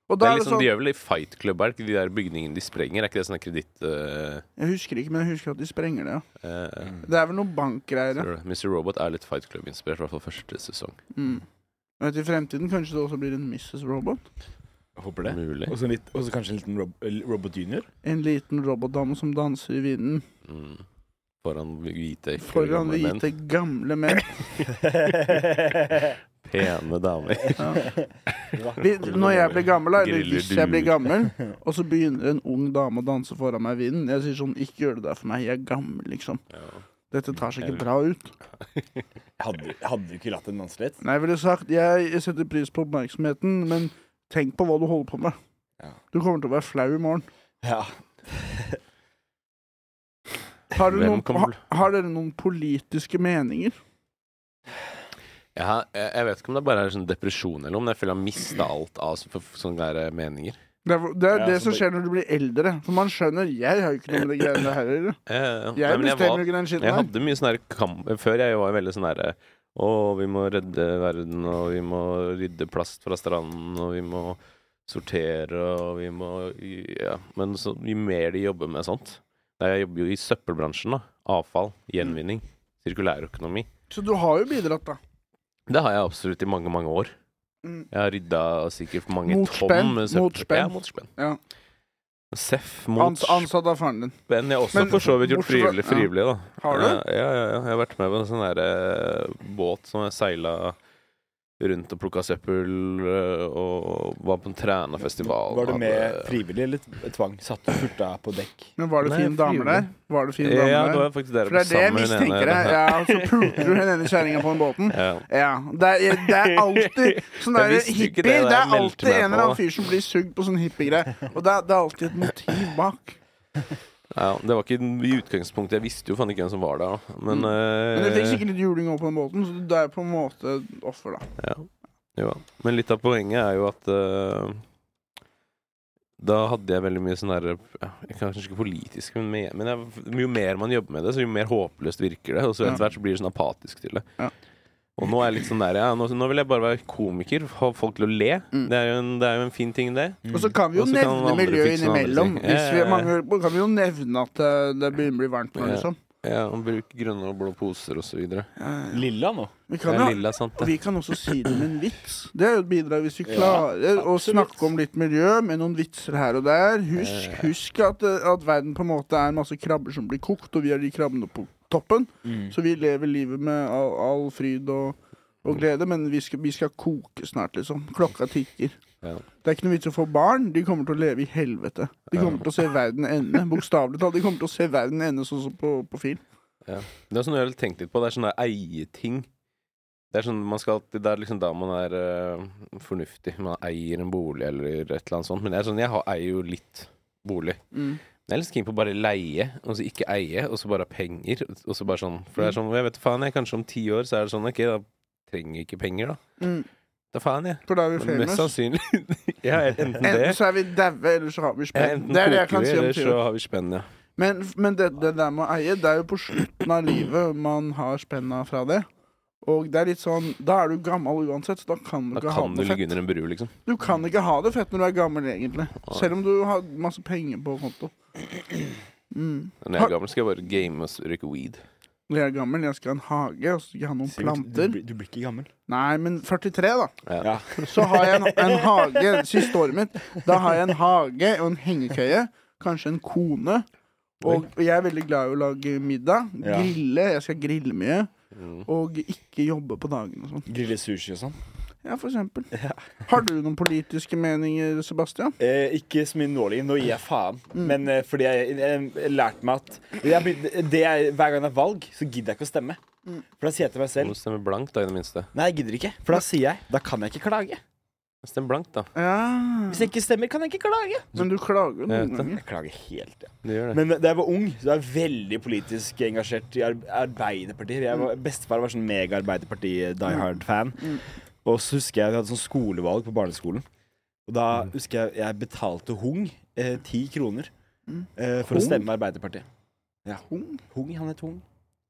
Speaker 1: Og
Speaker 3: Det
Speaker 1: da
Speaker 3: er
Speaker 1: er det
Speaker 3: liksom,
Speaker 1: sånn
Speaker 3: De gjør vel i Fight Club, er det ikke de der bygningene de sprenger? Er ikke det sånn kreditt... eh,
Speaker 1: Jeg husker ikke, men jeg husker at de sprenger det. ja.
Speaker 3: eh,
Speaker 1: Det er vel noe bankgreier. Mm. ja.
Speaker 3: tror du det? Mr. Robot er litt Fight Club-inspirert, i hvert fall første sesong.
Speaker 1: Mm. Jeg Vet, I fremtiden kanskje det også blir en Mrs. Robot.
Speaker 4: Håper det.
Speaker 3: Mulig.
Speaker 4: Og så en litt- og så kanskje en liten rob eh, robot junior?
Speaker 1: En liten robotdame som danser i vinden
Speaker 3: Mm. Foran hvite, ekle
Speaker 1: foran
Speaker 3: gamle menn.
Speaker 1: hvite, gamle menn.
Speaker 3: Pene damer.
Speaker 1: Vi, når jeg blir gammel, da, eller
Speaker 3: Griller
Speaker 1: hvis jeg blir
Speaker 3: du?
Speaker 1: gammel, og så begynner en ung dame å danse foran meg i vinden Jeg sier sånn Ikke gjør det der for meg. Jeg er gammel, liksom. Dette tar seg ikke bra ut.
Speaker 4: hadde, hadde du ikke latt den danse litt?
Speaker 1: Nei, jeg ville sagt Jeg setter pris på oppmerksomheten, men tenk på hva du holder på med.
Speaker 4: Ja.
Speaker 1: Du kommer til å være flau i morgen.
Speaker 4: Ja.
Speaker 1: Har, du
Speaker 3: Hvem
Speaker 1: noen,
Speaker 3: kommer
Speaker 1: ha, har dere noen politiske meninger?
Speaker 3: Jeg, har- jeg, jeg vet ikke om det bare er sånn depresjon eller om jeg føler jeg har mista alt av så- for- sånne der eh, meninger.
Speaker 1: Det er det, er
Speaker 4: Ja,
Speaker 1: det
Speaker 4: så
Speaker 3: altså,
Speaker 1: som
Speaker 4: det-
Speaker 1: skjer når du blir eldre. For man skjønner Jeg har jo ikke noe med de greiene her å gjøre.
Speaker 3: Jeg,
Speaker 1: Jeg
Speaker 3: Eh, men jeg,
Speaker 1: bestemmer
Speaker 3: var,
Speaker 1: jo ikke den skitten
Speaker 3: jeg
Speaker 1: her.
Speaker 3: hadde mye sånn der kamp Før jeg var veldig sånn derre Å, vi må redde verden, og vi må rydde plast fra stranden, og vi må sortere, og vi må Ja. Men så, jo mer de jobber med sånt Nei, Jeg jobber jo i søppelbransjen, da. Avfall, gjenvinning, sirkulærøkonomi.
Speaker 1: Så du har jo bidratt, da.
Speaker 3: Det har jeg absolutt i mange, mange år.
Speaker 1: Mm.
Speaker 3: Jeg har rydda sikkert mange
Speaker 1: Motspenn,
Speaker 3: tonn med søppel.
Speaker 1: motspenn.
Speaker 3: Ja, motspenn.
Speaker 1: Ja.
Speaker 3: Seff,
Speaker 1: Ans,
Speaker 3: motspenn.
Speaker 1: ansatt av faren din.
Speaker 3: Jeg har også
Speaker 1: Men-
Speaker 3: for så vidt gjort
Speaker 1: bortsett fra-
Speaker 3: frivillig,
Speaker 1: ja.
Speaker 3: frivillig da.
Speaker 1: Har du?
Speaker 3: Ja, ja, ja, ja. Jeg har vært med på en sånn der eh, båt som jeg seila rundt og plukka søppel eh, og var på en trænafestival.
Speaker 4: Var du med
Speaker 3: Hadde-
Speaker 4: frivillig eller tvang? Satt du furta på dekk?
Speaker 1: Men var det
Speaker 3: Nei,
Speaker 1: fin dame
Speaker 3: frivillig.
Speaker 1: der? Var det fin dame
Speaker 3: Ja, det
Speaker 1: der?
Speaker 3: var faktisk dere
Speaker 1: For det er det jeg
Speaker 3: sammen med den ene
Speaker 1: mistenker deg.
Speaker 3: der.
Speaker 1: Ja, så pulte du den ene kjerringa på den båten.
Speaker 3: Ja.
Speaker 1: Ja. Det er, det er alltid sånn
Speaker 3: Jeg
Speaker 1: der
Speaker 3: visste ikke
Speaker 1: hippie.
Speaker 3: det da
Speaker 1: Det
Speaker 3: jeg
Speaker 1: er
Speaker 3: meldte
Speaker 1: alltid en
Speaker 3: meg på.
Speaker 1: eller annen fyr som blir sugd på sånn hippiegreie. Og det er, det er alltid et motiv bak.
Speaker 3: ja, det var ikke i utgangspunktet. Jeg visste jo faen ikke hvem som var der, da. Men,
Speaker 1: Mm. Men du fikk
Speaker 3: eh,
Speaker 1: sikkert litt juling òg på den båten, så du er på en måte et offer, da.
Speaker 3: Ja. Jo, da. men litt av poenget er jo at eh, da hadde jeg veldig mye sånn derre ja, jeg kan Kanskje ikke politisk, men, me- men jeg, jo mer man jobber med det, så jo mer håpløst virker det. Og så
Speaker 1: Ja.
Speaker 3: etter hvert så blir du sånn apatisk til det.
Speaker 1: Ja.
Speaker 3: Og nå er jeg litt sånn der ja, nå, nå vil jeg bare være komiker, ha folk til å le.
Speaker 1: Mm.
Speaker 3: Det, er jo en, det er jo en fin ting, det.
Speaker 1: Og så kan vi jo
Speaker 3: Og så kan
Speaker 1: nevne
Speaker 3: andre
Speaker 1: miljøet
Speaker 3: fikse noen andre
Speaker 1: innimellom.
Speaker 3: ting.
Speaker 1: Hvis vi,
Speaker 3: Ja, ja, ja.
Speaker 1: mange, kan vi jo nevne at eh, det begynner å bli varmt nå,
Speaker 3: Ja.
Speaker 1: liksom.
Speaker 3: Ja, og Bruke grønne og blå poser og så videre.
Speaker 4: Lilla nå?
Speaker 1: Vi
Speaker 3: Det
Speaker 1: kan
Speaker 3: er
Speaker 1: jo
Speaker 3: lilla, sant?
Speaker 1: Og
Speaker 3: Det.
Speaker 1: vi kan også si det med en vits. Det er jo et bidrag hvis vi
Speaker 4: Ja,
Speaker 1: klarer å
Speaker 4: absolutt.
Speaker 1: snakke om litt miljø med noen vitser her og der. Husk, husk at, eh, at verden på en måte er masse krabber som blir kokt, og vi er de krabbene på toppen. Så vi lever livet med all, all fryd og, og glede, men vi skal, vi skal koke snart, liksom. Klokka tikker.
Speaker 3: Ja.
Speaker 1: Det er ikke noe vits å få barn. De kommer til å leve i helvete. De kommer til å se verden ende. Bokstavelig talt. De kommer til å se verden ende sånn som på, på film.
Speaker 3: Det er sånn jeg har tenkt litt på. Det er sånne eieting. Det er sånn man skal alltid Det er liksom da man er eh, fornuftig. Man eier en bolig eller et eller annet sånt. Men det er sånn, jeg har, eier jo litt bolig.
Speaker 1: Mm.
Speaker 3: Men Jeg er litt keen på å bare leie, og så ikke eie, og så bare ha penger. Og så bare sånn
Speaker 1: Mm.
Speaker 3: For det er sånn Jeg vet faen, jeg kanskje om ti år så er det sånn Ok, da trenger jeg ikke penger, da.
Speaker 1: Mm.
Speaker 3: Da faen, jeg.
Speaker 1: For da er vi
Speaker 3: Men mest
Speaker 1: famous.
Speaker 3: sannsynlig Ja, enten det
Speaker 1: Enten så er vi daue, eller så har vi
Speaker 3: ja,
Speaker 1: spenn.
Speaker 3: Enten
Speaker 1: Det er det jeg
Speaker 3: koker
Speaker 1: kan
Speaker 3: vi,
Speaker 1: si om
Speaker 3: eller
Speaker 1: tida.
Speaker 3: så har vi spenn, ja.
Speaker 1: Men, men det, det der med å eie, det er jo på slutten av livet man har spenna fra det. Og det er litt sånn, da er du gammel uansett, så da kan du
Speaker 3: Da
Speaker 1: ikke
Speaker 3: kan
Speaker 1: ha
Speaker 3: du
Speaker 1: det fett.
Speaker 3: ligge under en bru, liksom.
Speaker 1: Du kan ikke ha det fett når du er gammel, egentlig. Selv om du har masse penger på konto. Mm.
Speaker 3: Når jeg er gammel, skal jeg bare game og røyke weed.
Speaker 1: Når jeg er gammel, jeg skal ha en hage, og så skal jeg ha noen planter.
Speaker 4: blir- blir ikke gammel.
Speaker 1: Nei, men 43, da.
Speaker 4: Ja.
Speaker 1: Så har jeg en, en hage. Siste året mitt, da har jeg en hage og en hengekøye. Kanskje en kone. Og jeg er veldig glad i å lage middag.
Speaker 4: Ja.
Speaker 1: Grille. Jeg skal grille mye.
Speaker 3: Mm.
Speaker 1: Og ikke jobbe på dagene og sånn.
Speaker 4: Grille sushi og sånn.
Speaker 1: Ja, for eksempel. Har du noen politiske meninger, Sebastian?
Speaker 4: Eh, ikke så mye nålig. Nå gir jeg faen. Men eh, fordi jeg, jeg, jeg lærte meg at jeg, begynte- det jeg, Hver gang det er valg, så gidder jeg ikke å stemme. For da sier jeg til meg
Speaker 3: Du må
Speaker 4: selv
Speaker 3: stemme blankt, da, i det minste.
Speaker 4: Nei, jeg gidder ikke. For da sier jeg Da kan jeg ikke klage.
Speaker 3: Stem blankt, da.
Speaker 1: Ja.
Speaker 4: Hvis jeg ikke stemmer, kan jeg ikke klage.
Speaker 1: Men du klager jo
Speaker 3: Jeg
Speaker 1: noen
Speaker 3: vet det.
Speaker 1: ganger.
Speaker 4: Jeg klager helt, ja.
Speaker 3: Det gjør det.
Speaker 4: Men da jeg var ung, så var jeg veldig politisk engasjert i Ar- Arbeiderpartiet. Jeg var, bestefar var sånn mega-Arbeiderparti-Die Hard-fan.
Speaker 1: Mm,
Speaker 4: Og så husker jeg vi hadde sånn skolevalg på barneskolen. Og da
Speaker 1: Mm.
Speaker 4: husker jeg jeg betalte Hung eh, ti kroner
Speaker 1: Mm.
Speaker 4: eh, for
Speaker 1: Hung?
Speaker 4: å stemme Arbeiderpartiet.
Speaker 1: Ung.
Speaker 4: Hung, han het Hung.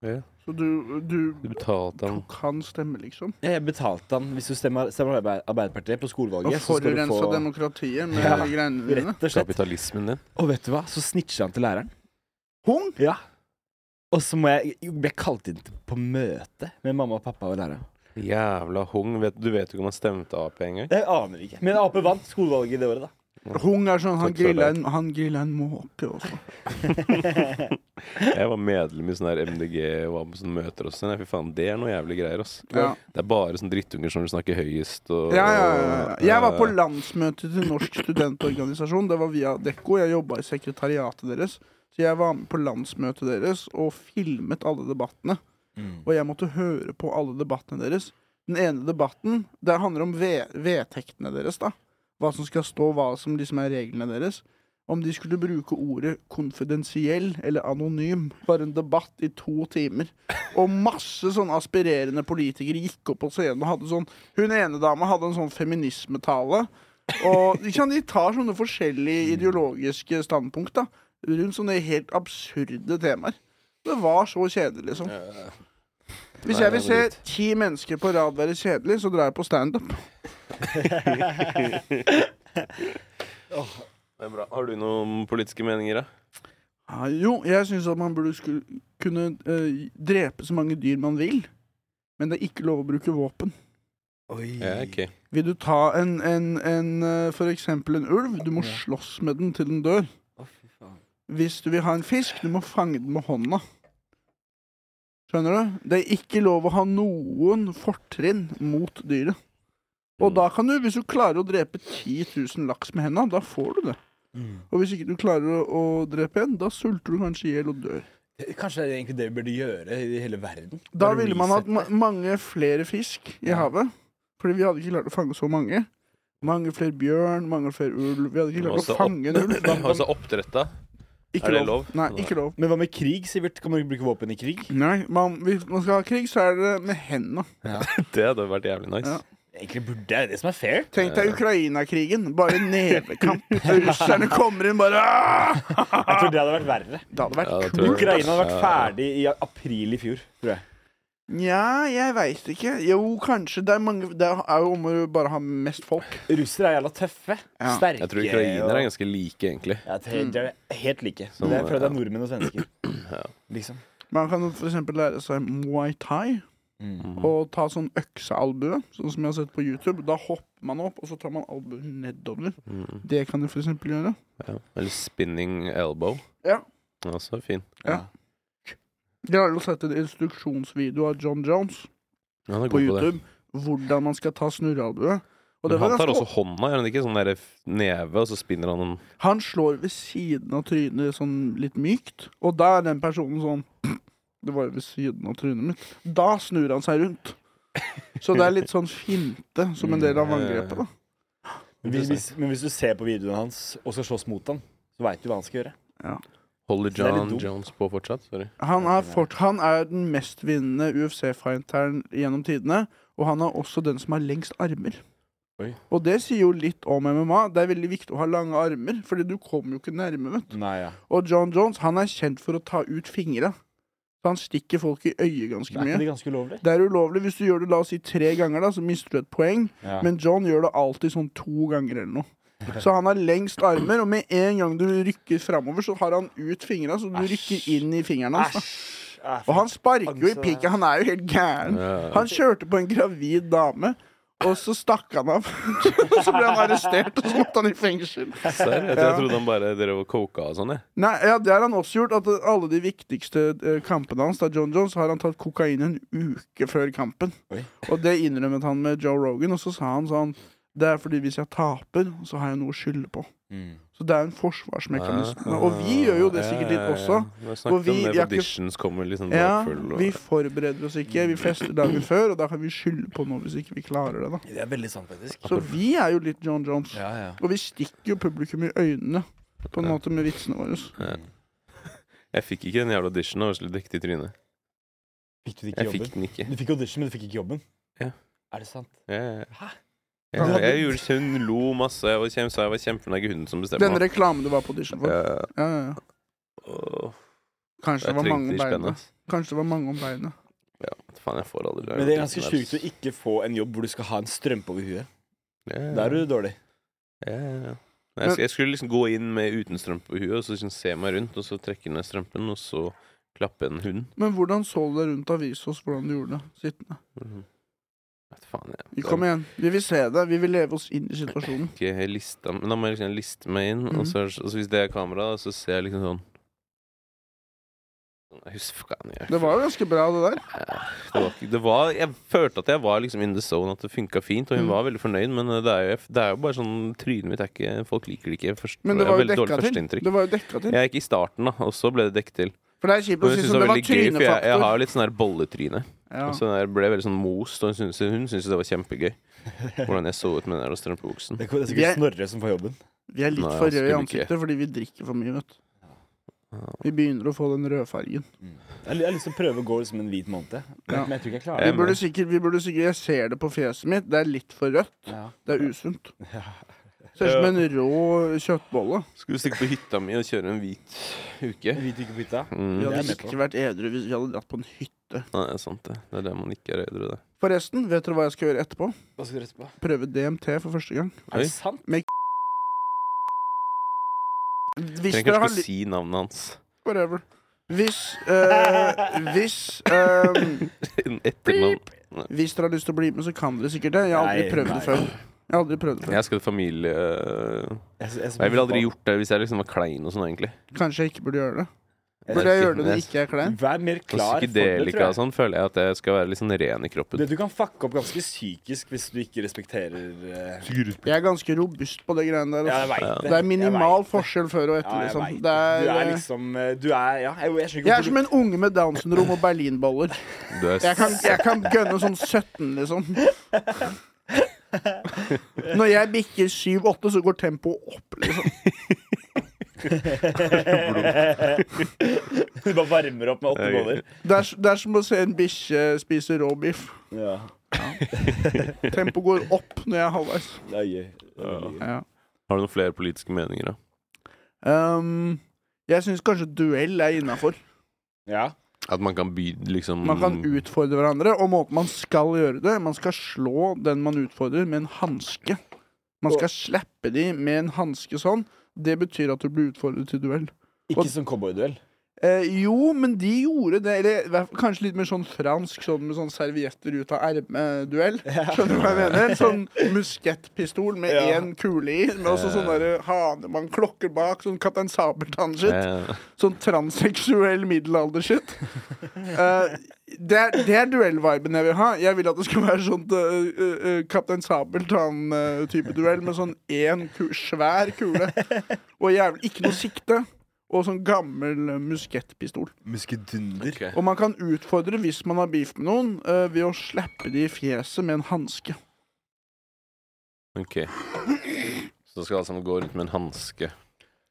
Speaker 1: Så du, du
Speaker 3: Du betalte han
Speaker 1: tok hans stemme, liksom?
Speaker 4: Ja, jeg betalte han hvis du stemmer, stemmer Arbe- Arbeiderpartiet på
Speaker 1: Og
Speaker 4: skolevalget. så skal du
Speaker 1: forurensa
Speaker 4: få
Speaker 1: demokratiet med
Speaker 4: Ja.
Speaker 1: greiene dine?
Speaker 4: Rett og slett.
Speaker 3: kapitalismen din.
Speaker 4: Og vet du hva? Så snitcher han til læreren.
Speaker 1: Hung?
Speaker 4: Ja. Og så må jeg, jeg ble kalt inn til- på møte med mamma og pappa og læreren.
Speaker 3: Jævla hung. Vet, du vet jo ikke om han stemte Ap engang.
Speaker 4: Jeg aner ikke. Men Ap vant skolevalget det året, da.
Speaker 1: Hung er sånn, han
Speaker 3: Takk for
Speaker 1: grilla en, han grilla en måke også.
Speaker 3: Jeg var medlem i sånn her MDG og var på sånne møter og sånn. Fy faen, det er noe jævlig greier, ass.
Speaker 1: Ja.
Speaker 3: Det er bare sånne drittunger som vil snakke høyest og
Speaker 1: Ja, ja, ja, ja. Jeg var på
Speaker 3: Eh,
Speaker 1: landsmøtet til Norsk studentorganisasjon. Det var via Dekko. Jeg jobba i sekretariatet deres. Så jeg var med på landsmøtet deres og filmet alle debattene. Og jeg måtte høre på alle debattene deres. Den ene debatten det handler om ve- vedtektene deres. da Hva som skal stå, hva som liksom er reglene deres. Om de skulle bruke ordet konfidensiell eller anonym. Var en debatt i to timer. Og masse sånn aspirerende politikere gikk opp på scenen og hadde sånn Hun ene dama hadde en sånn feminismetale. Og ikke sant, de tar sånne
Speaker 3: Mm.
Speaker 1: forskjellige ideologiske standpunkt da rundt sånne helt absurde temaer. Det var så kjedelig, liksom. Hvis
Speaker 3: Nei,
Speaker 1: jeg vil
Speaker 3: det
Speaker 1: se
Speaker 3: er dritt.
Speaker 1: ti mennesker på rad være kjedelig, så drar jeg på standup.
Speaker 3: det er bra. Har du noen politiske meninger, da?
Speaker 1: Ja, Ah, jo, jeg syns at man burde skulle kunne eh, drepe så mange dyr man vil, men det er ikke lov å bruke våpen.
Speaker 4: Oi.
Speaker 3: Ja, ok.
Speaker 1: Vil du ta en, en, en eh, for eksempel en ulv, du må
Speaker 4: Ja.
Speaker 1: slåss med den til den dør.
Speaker 4: Å, fy faen.
Speaker 1: Hvis du vil ha en fisk, du må fange den med hånda. Skjønner du? Det er ikke lov å ha noen fortrinn mot dyret.
Speaker 3: Mm.
Speaker 1: Og da kan du, hvis du klarer å drepe 10 000 laks med henda, da får du det. Og hvis ikke du klarer å, å drepe en, da sulter du kanskje i hjel og dør.
Speaker 5: Kanskje det er egentlig det vi burde gjøre i hele verden?
Speaker 1: Da
Speaker 5: Bare
Speaker 1: ville man hatt
Speaker 5: resette.
Speaker 1: ma mange flere fisk i havet. Fordi vi hadde ikke klart å fange så mange. Mange flere bjørn, mange flere ulv. Vi hadde ikke klart
Speaker 3: Også
Speaker 1: å fange en ulv. Da- da-
Speaker 3: Altså oppdretta.
Speaker 1: ikke
Speaker 3: er det lov?
Speaker 1: Nei, ikke lov.
Speaker 4: Men hva med krig, Sivert? Kan man bruke våpen i krig?
Speaker 1: Nei, man, Hvis man skal ha krig, så er det med henda.
Speaker 3: Det hadde vært jævlig nice.
Speaker 1: Ja.
Speaker 5: Egentlig burde det er det som er fair.
Speaker 1: Tenk deg Ukraina-krigen. Bare nevekamp. Russerne kommer inn bare «Aah!»
Speaker 4: Jeg tror det hadde vært verre.
Speaker 1: Det hadde
Speaker 3: Ja,
Speaker 1: vært
Speaker 3: det tror jeg.
Speaker 1: kult.
Speaker 4: Ukraina hadde vært
Speaker 3: Ja.
Speaker 4: ferdig i april i fjor, tror jeg.
Speaker 1: Nja, jeg veit ikke. Jo, kanskje. Det er, mange, det er jo om å bare ha mest folk.
Speaker 4: Russere er jævla tøffe.
Speaker 1: Ja.
Speaker 5: Sterke
Speaker 3: Jeg tror ukrainere er
Speaker 5: og-
Speaker 3: ganske like, egentlig.
Speaker 4: Ja, det er- det er helt like.
Speaker 3: Som,
Speaker 4: det er fordi det er
Speaker 3: ja.
Speaker 4: nordmenn og svensker. Liksom.
Speaker 1: Man kan f.eks. lære seg muay thai.
Speaker 3: Mm.
Speaker 1: Og ta sånn øksealbue, sånn som jeg har sett på YouTube. Da hopper man opp, og så tar man albuen nedover. Det kan du f.eks. gjøre.
Speaker 3: Mm, Ja. Eller spinning elbow.
Speaker 1: Ja.
Speaker 3: Også fin.
Speaker 1: Jeg har jo sett en instruksjonsvideo av John Jones
Speaker 3: Han er
Speaker 1: på
Speaker 3: god på det.
Speaker 1: YouTube. Hvordan man skal ta snurrealbue. Og det
Speaker 3: Men
Speaker 1: var
Speaker 3: han tar
Speaker 1: ganske
Speaker 3: også hånda, gjør han ikke? Sånn der f- neve, og så spinner han den.
Speaker 1: Han slår ved siden av trynet sånn litt mykt, og da er den personen sånn Det var jo ved siden av trynet mitt. Da snur han seg rundt. Så det er litt sånn finte som en del av angrepet, da.
Speaker 4: Hvis, hvis, men hvis du ser på videoene hans og skal slåss mot han, så veit du hva han skal gjøre.
Speaker 3: Holder
Speaker 4: er litt
Speaker 3: John
Speaker 4: dumt.
Speaker 3: Jones på fortsatt? Sorry.
Speaker 1: Han er, fort, han er den mest vinnende UFC-fighteren gjennom tidene, og han er også den som har lengst armer.
Speaker 4: Oi.
Speaker 1: Og det sier jo litt om MMA. Det er veldig viktig å ha lange armer, fordi du kommer jo ikke nærme, vet du.
Speaker 4: Nei, ja.
Speaker 1: Og John Jones han er kjent for å ta ut fingra. Så han stikker folk i øyet ganske
Speaker 4: Er
Speaker 1: mye.
Speaker 4: ikke det ganske ulovlig?
Speaker 1: Det er ulovlig. Hvis du gjør det la oss si tre ganger, da, så mister du et poeng.
Speaker 4: Ja.
Speaker 1: Men John gjør det alltid sånn to ganger eller noe. Så han har lengst armer, og med en gang du rykker framover, så har han ut fingra, så du rykker inn i fingeren hans. da. Og han sparker jo i piken. Han er jo helt gæren. Han kjørte på en gravid dame. Og så stakk han av. så ble han arrestert, og så måtte han i fengsel.
Speaker 3: Serr? Jeg, tror- jeg trodde han bare drev og coka og sånn, jeg.
Speaker 1: Nei, ja, Det har han også gjort. At eh, alle de viktigste eh, kampene hans, da John Jones, har han tatt kokain en uke før kampen.
Speaker 4: Oi.
Speaker 1: Og det innrømmet han med Joe Rogan, og så sa han sånn Det er fordi hvis jeg taper, så har jeg noe å skylde på.
Speaker 4: Mm. Ah.
Speaker 1: Så det er en forsvarsmekanisme. Og vi gjør jo det sikkert litt også.
Speaker 3: Vi
Speaker 1: Og
Speaker 3: snakket
Speaker 1: vi-
Speaker 3: om
Speaker 1: vi
Speaker 3: det.
Speaker 1: har ikke-
Speaker 3: Auditions kommer liksom
Speaker 1: Ja,
Speaker 3: bakfull og
Speaker 1: Vi forbereder oss ikke, vi fester dagen før, og da kan vi skylde på noe hvis ikke vi klarer det. da
Speaker 5: Det er veldig sant, faktisk.
Speaker 1: Så vi er jo litt John Jones.
Speaker 5: Ja, ja.
Speaker 1: Og vi stikker jo publikum i øynene på en måte med vitsene våre.
Speaker 5: Mm.
Speaker 3: Jeg fikk ikke den jævla auditionen, og jeg ble dekket i trynet.
Speaker 4: Fikk du ikke
Speaker 3: Jeg fikk
Speaker 4: jobben?
Speaker 3: den ikke.
Speaker 4: Du fikk audition, men du fikk ikke jobben?
Speaker 3: Ja.
Speaker 4: Er det sant?
Speaker 3: Jeg,
Speaker 4: Hæ?
Speaker 3: jeg, jeg gjorde hun lo masse, og jeg sa jeg var kjempefornøyd med hunden som bestemte
Speaker 1: Den reklamen du var på audition for.
Speaker 3: Ja,
Speaker 1: Ja, ja, ja.
Speaker 3: åh,
Speaker 1: Kanskje det
Speaker 3: Jeg
Speaker 1: var mange om
Speaker 3: trengte de
Speaker 1: beina.
Speaker 3: spennende.
Speaker 1: Kanskje det var mange om beina.
Speaker 3: Faen, jeg får aldri
Speaker 4: Men det er ganske sjukt å ikke få en jobb hvor du skal ha en strømpe over huet. Da er du dårlig.
Speaker 3: Ja, ja, ja. Nei, Jeg, sk- jeg skulle liksom gå inn med uten strømpe på huet, og så liksom se meg rundt, og så trekke ned strømpen, og så klappe en hund.
Speaker 1: Men hvordan så du deg rundt? Vis oss hvordan du gjorde det. sittende.
Speaker 3: Mhm. Vet faen, jeg.
Speaker 1: Vi- Kom igjen. Vi vil se deg. Vi vil leve oss inn i situasjonen.
Speaker 3: ikke helt lista Men da må jeg liksom liste meg inn,
Speaker 1: Mhm.
Speaker 3: og, så, og så hvis det er kamera, da, så ser jeg liksom sånn Jeg husker hva jeg gjør.
Speaker 1: Det var jo ganske bra, det der.
Speaker 3: Det var, ikke- det var, jeg følte at jeg var liksom in the zone, at det funka fint. Og hun
Speaker 1: Mm.
Speaker 3: var veldig fornøyd, men eh, det er jo, det er jo bare sånn Trynet mitt er ikke Folk liker det ikke. Først,
Speaker 1: Men det var jo
Speaker 3: veldig dårlig
Speaker 1: dekka til.
Speaker 3: førsteinntrykk.
Speaker 1: Det var jo dekka til.
Speaker 3: Jeg gikk i starten, da, og så ble det dekket til.
Speaker 1: For det er kjipt
Speaker 3: Men
Speaker 1: å si
Speaker 3: hun
Speaker 1: som det
Speaker 3: syntes det var
Speaker 1: var
Speaker 3: veldig gøy, for jeg, jeg har jo
Speaker 1: trynefaktor.
Speaker 3: litt sånn her bolletryne.
Speaker 1: Ja.
Speaker 3: Og så der ble jeg veldig sånn most, og hun syntes, hun syntes det var kjempegøy. Hvordan jeg så ut med den der strømpebuksen.
Speaker 4: Det er
Speaker 1: Vi er-
Speaker 4: sikkert Snorre som får jobben.
Speaker 1: Vi er litt
Speaker 3: Nei,
Speaker 1: for
Speaker 3: jeg
Speaker 1: røde i
Speaker 3: skulle ikke.
Speaker 1: ansiktet fordi vi drikker for mye, vet du. Vi begynner å få den rødfargen.
Speaker 4: Jeg har ly- jeg har lyst til å prøve å gå som en hvit måned, jeg. men,
Speaker 1: Ja.
Speaker 4: men jeg tror ikke
Speaker 3: Jeg
Speaker 4: jeg klarer
Speaker 1: Vi
Speaker 4: det.
Speaker 3: er
Speaker 1: burde
Speaker 3: med.
Speaker 1: sikkert, vi burde sikkert Jeg ser det på fjeset mitt. Det er litt for rødt.
Speaker 4: Ja.
Speaker 1: Det er usunt. Ser ut som en rå kjøttbolle.
Speaker 3: Skulle stikke på hytta mi og kjøre en hvit uke.
Speaker 4: Hvit uke på hytta.
Speaker 1: Vi
Speaker 3: Mm.
Speaker 4: Ja.
Speaker 3: Nei,
Speaker 4: Det er jeg
Speaker 1: hadde
Speaker 4: med på.
Speaker 1: ikke vært edru hvis vi hadde dratt på en hytte.
Speaker 3: det er sant, det. Det er det man ikke er edru, det.
Speaker 1: Forresten, vet dere hva jeg skal gjøre etterpå?
Speaker 4: Hva skal du rette på?
Speaker 1: prøve DMT for første gang.
Speaker 4: Er
Speaker 3: Oi.
Speaker 4: det sant?
Speaker 1: Hvis
Speaker 3: Trenger
Speaker 1: dere har
Speaker 3: kanskje
Speaker 1: li
Speaker 3: ikke si navnet hans
Speaker 1: Whatever. Hvis eh, Hvis eh,
Speaker 3: etternavn.
Speaker 1: Hvis dere har lyst til å bli med, så kan dere sikkert det. Jeg har aldri
Speaker 4: Nei,
Speaker 1: prøvd det
Speaker 4: nei.
Speaker 1: før. Jeg har aldri prøvd det før.
Speaker 3: Jeg skal til familie eh,
Speaker 4: Jeg, jeg,
Speaker 3: Jeg ville aldri gjort det hvis jeg liksom var klein og sånn, egentlig.
Speaker 1: Kanskje jeg ikke burde gjøre det. Burde jeg gjøre det når jeg ikke er klein?
Speaker 4: Vær mer
Speaker 3: Og
Speaker 4: klar for det, altså.
Speaker 3: psykedelika
Speaker 4: tror
Speaker 3: og
Speaker 4: jeg.
Speaker 3: sånn føler jeg at jeg skal være litt sånn ren i kroppen.
Speaker 4: Det du kan fucke opp ganske psykisk hvis du ikke respekterer eh,
Speaker 1: Jeg er ganske robust på det greiene der.
Speaker 4: Ja, jeg
Speaker 1: ass.
Speaker 4: vet det.
Speaker 1: Det er minimal
Speaker 4: Jeg vet det.
Speaker 1: forskjell før og
Speaker 4: Ja,
Speaker 1: etter,
Speaker 4: jeg
Speaker 1: liksom.
Speaker 4: vet
Speaker 1: Det
Speaker 4: det. Du er
Speaker 1: er,
Speaker 4: liksom eh, Du er Ja, jeg, jeg
Speaker 1: jeg
Speaker 4: skjønner ikke
Speaker 1: er som en unge med Downs syndrom og berlinboller.
Speaker 3: Du er
Speaker 1: Jeg kan, jeg kan gønne sånn 17, liksom. Når jeg bikker 7-8, så går tempoet opp, liksom.
Speaker 4: Du bare varmer opp med åtte
Speaker 3: Ok.
Speaker 4: boller.
Speaker 1: Det er, s- det er som å se en bikkje spise rå biff.
Speaker 4: Ja,
Speaker 1: Tempoet går opp når jeg er halvveis.
Speaker 4: det er gøy. Det er veldig gøy.
Speaker 1: Ja.
Speaker 3: Har du noen flere politiske meninger, da?
Speaker 1: Um, jeg syns kanskje duell er innafor.
Speaker 4: Ja.
Speaker 3: At man kan by liksom
Speaker 1: Man kan utfordre hverandre, og måten man skal gjøre det Man skal slå den man utfordrer, med en hanske. Man skal slappe de med en hanske sånn. Det betyr at du blir utfordret til duell.
Speaker 4: Ikke som cowboyduell.
Speaker 1: Eh, jo, men de gjorde det. Eller i hvert fall kanskje litt mer sånn fransk, sånn med sånn servietter ut av ermet-duell. Skjønner du hva jeg mener? Sånn muskettpistol med
Speaker 4: Ja.
Speaker 1: én kule i, med også sånn derre hane man klokker bak, sånn Kaptein Sabeltann-shit.
Speaker 3: Eh,
Speaker 1: Sånn transseksuell middelalder-shit. Eh, det, er- det er duell-viben jeg vil ha. Jeg vil at det skal være sånn eh, eh, eh, Kaptein Sabeltann-type duell med sånn én ku svær kule og jævlig ikke noe sikte. Og sånn gammel eh, muskettpistol.
Speaker 4: Muskedunder.
Speaker 1: Og man kan utfordre hvis man har beef med noen, eh, ved å slappe de i fjeset med en hanske.
Speaker 3: ok. Så skal alle sammen gå rundt med en hanske.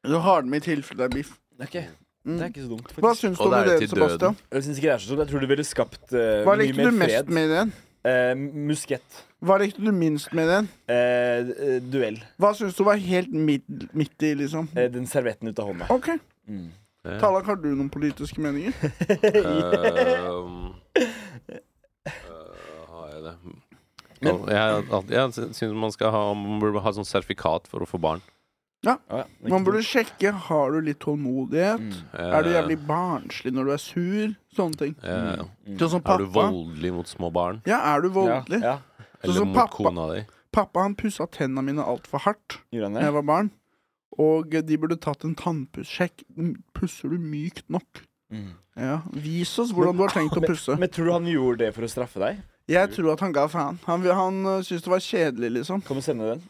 Speaker 1: Du har den med i tilfelle det er beef.
Speaker 4: Ok, Det
Speaker 1: Mm.
Speaker 4: er ikke så dumt.
Speaker 1: Hva
Speaker 4: faktisk.
Speaker 1: syns du om
Speaker 3: Og det er jo
Speaker 1: ideen,
Speaker 3: til døden.
Speaker 1: Sebastian?
Speaker 4: Jeg synes ikke det er så dumt. Jeg tror det ville skapt eh,
Speaker 1: Hva
Speaker 4: mye
Speaker 1: likte
Speaker 4: mer
Speaker 1: du mest
Speaker 4: fred.
Speaker 1: med ideen?
Speaker 4: Eh, muskett.
Speaker 1: Hva likte du minst med ideen?
Speaker 4: Eh, d- eh, duell.
Speaker 1: Hva syns du var helt midd, midt i, liksom?
Speaker 4: Eh, den servetten ut av hånda.
Speaker 1: OK.
Speaker 4: Mm.
Speaker 3: Det-
Speaker 1: Tallak, har du noen politiske meninger?
Speaker 3: Ehm, øh, har jeg det?
Speaker 4: Men-
Speaker 3: jeg alt- jeg syns man skal ha Man burde ha sånn sertifikat for å få barn.
Speaker 4: Ah, ja.
Speaker 1: Man burde sjekke har du litt tålmodighet.
Speaker 4: Mm.
Speaker 1: Er du jævlig barnslig når du er sur? Sånne ting.
Speaker 3: Eh, ja.
Speaker 4: Mm.
Speaker 1: Sånn som
Speaker 3: Er du
Speaker 1: pappa.
Speaker 3: voldelig mot små barn?
Speaker 1: Ja, er du voldelig?
Speaker 4: Ja, ja.
Speaker 1: Sånn
Speaker 3: Eller
Speaker 1: som
Speaker 3: mot
Speaker 1: pappa.
Speaker 3: kona di?
Speaker 1: Pappa han pussa tenna mine altfor hardt
Speaker 4: Gjorde han
Speaker 1: da jeg
Speaker 4: det?
Speaker 1: var barn. Og de burde tatt en tannpussjekk. Mm, Pusser du mykt nok?
Speaker 4: Mm.
Speaker 1: Ja, Vis oss hvordan du har tenkt å pusse.
Speaker 4: Men tror du han gjorde det for å straffe deg?
Speaker 1: Jeg tror at han ga faen. Han, han øh, syntes det var kjedelig, liksom.
Speaker 4: Kan du sende den?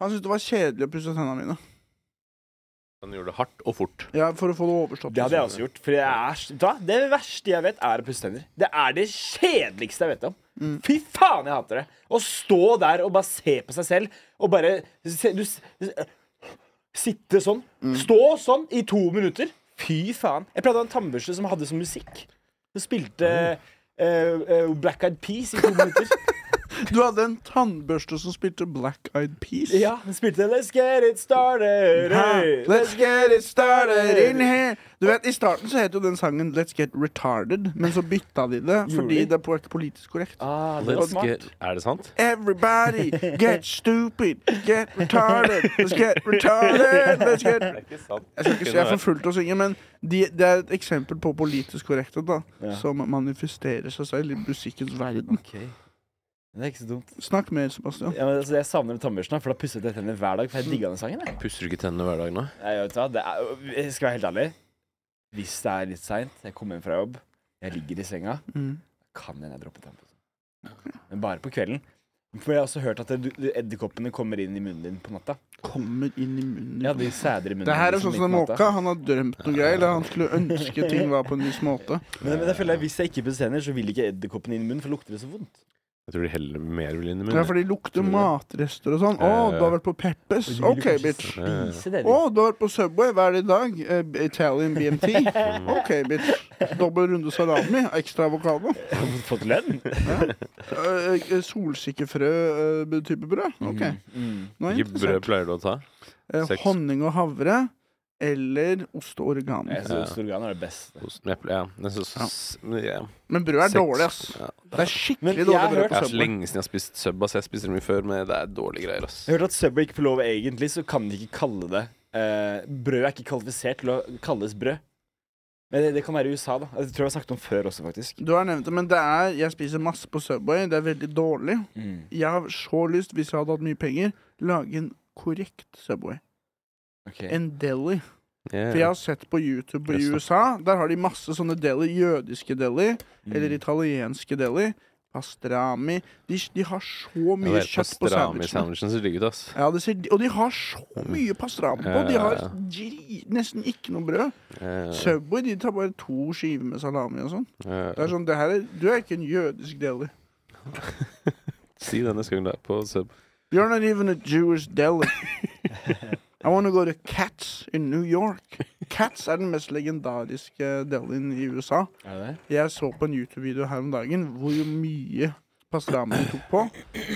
Speaker 1: Han syntes det var kjedelig å pusse tenna mine.
Speaker 3: Han gjorde det hardt og fort.
Speaker 1: Ja, For å få det overstått. liksom.
Speaker 4: Det hadde jeg også gjort. For jeg er, s- da, det verste jeg vet, er å pusse tenner. Det er det kjedeligste jeg vet om.
Speaker 1: Mm.
Speaker 4: Fy faen, jeg hater det. Å stå der og bare se på seg selv og bare se, du, s- Sitte sånn. Stå sånn i to minutter. Fy faen. Jeg pleide å ha en tannbørste som hadde sånn musikk. Som spilte eh, eh, Black Eyed Peas i to minutter.
Speaker 1: Du hadde en tannbørste som spilte Black Eyed Peas.
Speaker 4: Ja, den spilte Let's get it started.
Speaker 1: Hæ?
Speaker 4: hey.
Speaker 1: Let's get it started in here Du vet, I starten så het jo den sangen Let's get retarded Men så bytta de det Fordi
Speaker 4: de?
Speaker 1: det er ikke politisk korrekt
Speaker 4: Ah, det var
Speaker 3: Let's
Speaker 4: smart.
Speaker 3: get, er det sant?
Speaker 1: Everybody get stupid Get retarded Let's get retarded Let's get Jeg
Speaker 3: ikke sant.
Speaker 1: skal ikke si jeg er for fullt å synge Men de, det er et eksempel på politisk korrekthet da Som manifesterer seg selv i musikkens verden
Speaker 4: Det er ikke så dumt.
Speaker 1: Snakk mer, Sebastian
Speaker 4: Ja, men, altså, jeg savner tannbørsten, da, for da pusset jeg tennene hver dag. For jeg digga den sangen. Jeg.
Speaker 3: Pusser du ikke tennene hver dag nå?
Speaker 4: Jeg, vet du hva, det er, øh, jeg skal være helt ærlig. Hvis det er litt seint, jeg kommer hjem fra jobb, jeg ligger i senga,
Speaker 1: mm.
Speaker 4: kan hende jeg dropper tannbørsten. Men bare på kvelden. For jeg har også hørt at det- du- edderkoppene kommer inn i munnen din på natta.
Speaker 1: Kommer inn i munnen
Speaker 4: Ja, de sæder i munnen.
Speaker 1: Det her er
Speaker 4: liksom
Speaker 1: sånn
Speaker 4: midt
Speaker 1: som
Speaker 4: på natta.
Speaker 1: Måka Han har drømt noe greier Eller han skulle ønske ting var på en viss måte
Speaker 4: Men, men jeg føler at hvis jeg ikke pusser tenner, så vil ikke edderkoppen inn i munnen, for lukter det så vondt.
Speaker 3: Jeg tror de heller mer vil inn i
Speaker 1: Ja,
Speaker 3: munnen.
Speaker 1: for de lukter
Speaker 3: Tror du det?
Speaker 1: matrester og sånn. Å,
Speaker 3: Eh.
Speaker 1: du har vært på Peppes.
Speaker 4: Og de vil
Speaker 1: OK,
Speaker 4: kanskje
Speaker 1: bitch.
Speaker 4: Spise det,
Speaker 1: Å, du har vært på Subway. Hva er det i dag? Eh, b- Italian BMT. OK, bitch. Dobbel runde salami. Ekstra avokado.
Speaker 4: Har du fått lønn?
Speaker 1: Eh, eh, Solsikkefrø-type brød. OK.
Speaker 4: Mm.
Speaker 1: Nå er jeg
Speaker 3: Hvilke brød
Speaker 1: interessert.
Speaker 3: pleier du å ta?
Speaker 1: Eh,
Speaker 3: seks?
Speaker 1: honning og havre eller ost og oregano.
Speaker 4: Jeg synes Storgan er det beste.
Speaker 3: Ost, eple, ja. Men så- s- ja.
Speaker 1: Men brød er
Speaker 3: Seks.
Speaker 1: dårlig, ass.
Speaker 3: Ja.
Speaker 1: Det er
Speaker 4: Men
Speaker 1: skikkelig
Speaker 4: jeg
Speaker 1: dårlig
Speaker 4: har
Speaker 1: brød
Speaker 4: hørt-
Speaker 3: Det
Speaker 1: på
Speaker 3: er så
Speaker 1: Subway.
Speaker 3: lenge siden jeg har spist sub. ass. Jeg spiser det mye før, men det er dårlige greier. ass
Speaker 4: Jeg hørte at Subway ikke får lov egentlig, så kan de ikke kalle det eh, Brød er ikke kvalifisert til å kalles brød. Men det, det kan være i USA, da. Det tror jeg jeg snakket om før også, faktisk.
Speaker 1: Du har nevnt det, men det er Jeg spiser masse på Subway. Det er veldig dårlig. Jeg har så lyst, hvis jeg hadde hatt mye penger, lage en korrekt Subway.
Speaker 4: Ok.
Speaker 1: En deli.
Speaker 3: Ja.
Speaker 1: For jeg har sett på YouTube i
Speaker 3: Yes, da.
Speaker 1: USA. Der har de masse sånne deli, jødiske deli,
Speaker 3: Mm.
Speaker 1: eller italienske deli. Pastrami. De, de har så
Speaker 3: Ja, det
Speaker 1: mye
Speaker 3: er
Speaker 1: kjøtt på sandwichene.
Speaker 3: Pastrami-sandwichen ser digg ut, ass.
Speaker 1: Ja, det ser, og de har så mye pastrami på. De har
Speaker 3: Ja, ja, ja.
Speaker 1: dri, nesten ikke noe brød.
Speaker 3: Eh,
Speaker 1: Subway de tar bare to skiver med salami og sånn.
Speaker 3: eh,
Speaker 1: Det er sånn, det her er, Du er ikke en jødisk deli.
Speaker 3: Si det neste gang du er på sub.
Speaker 1: You're not even a Jewish deli. I wanna go to Cats in New York. Cats er den mest legendariske delien i USA.
Speaker 5: Er det det?
Speaker 1: Jeg så på en YouTube-video her om dagen hvor mye pastrami de tok på.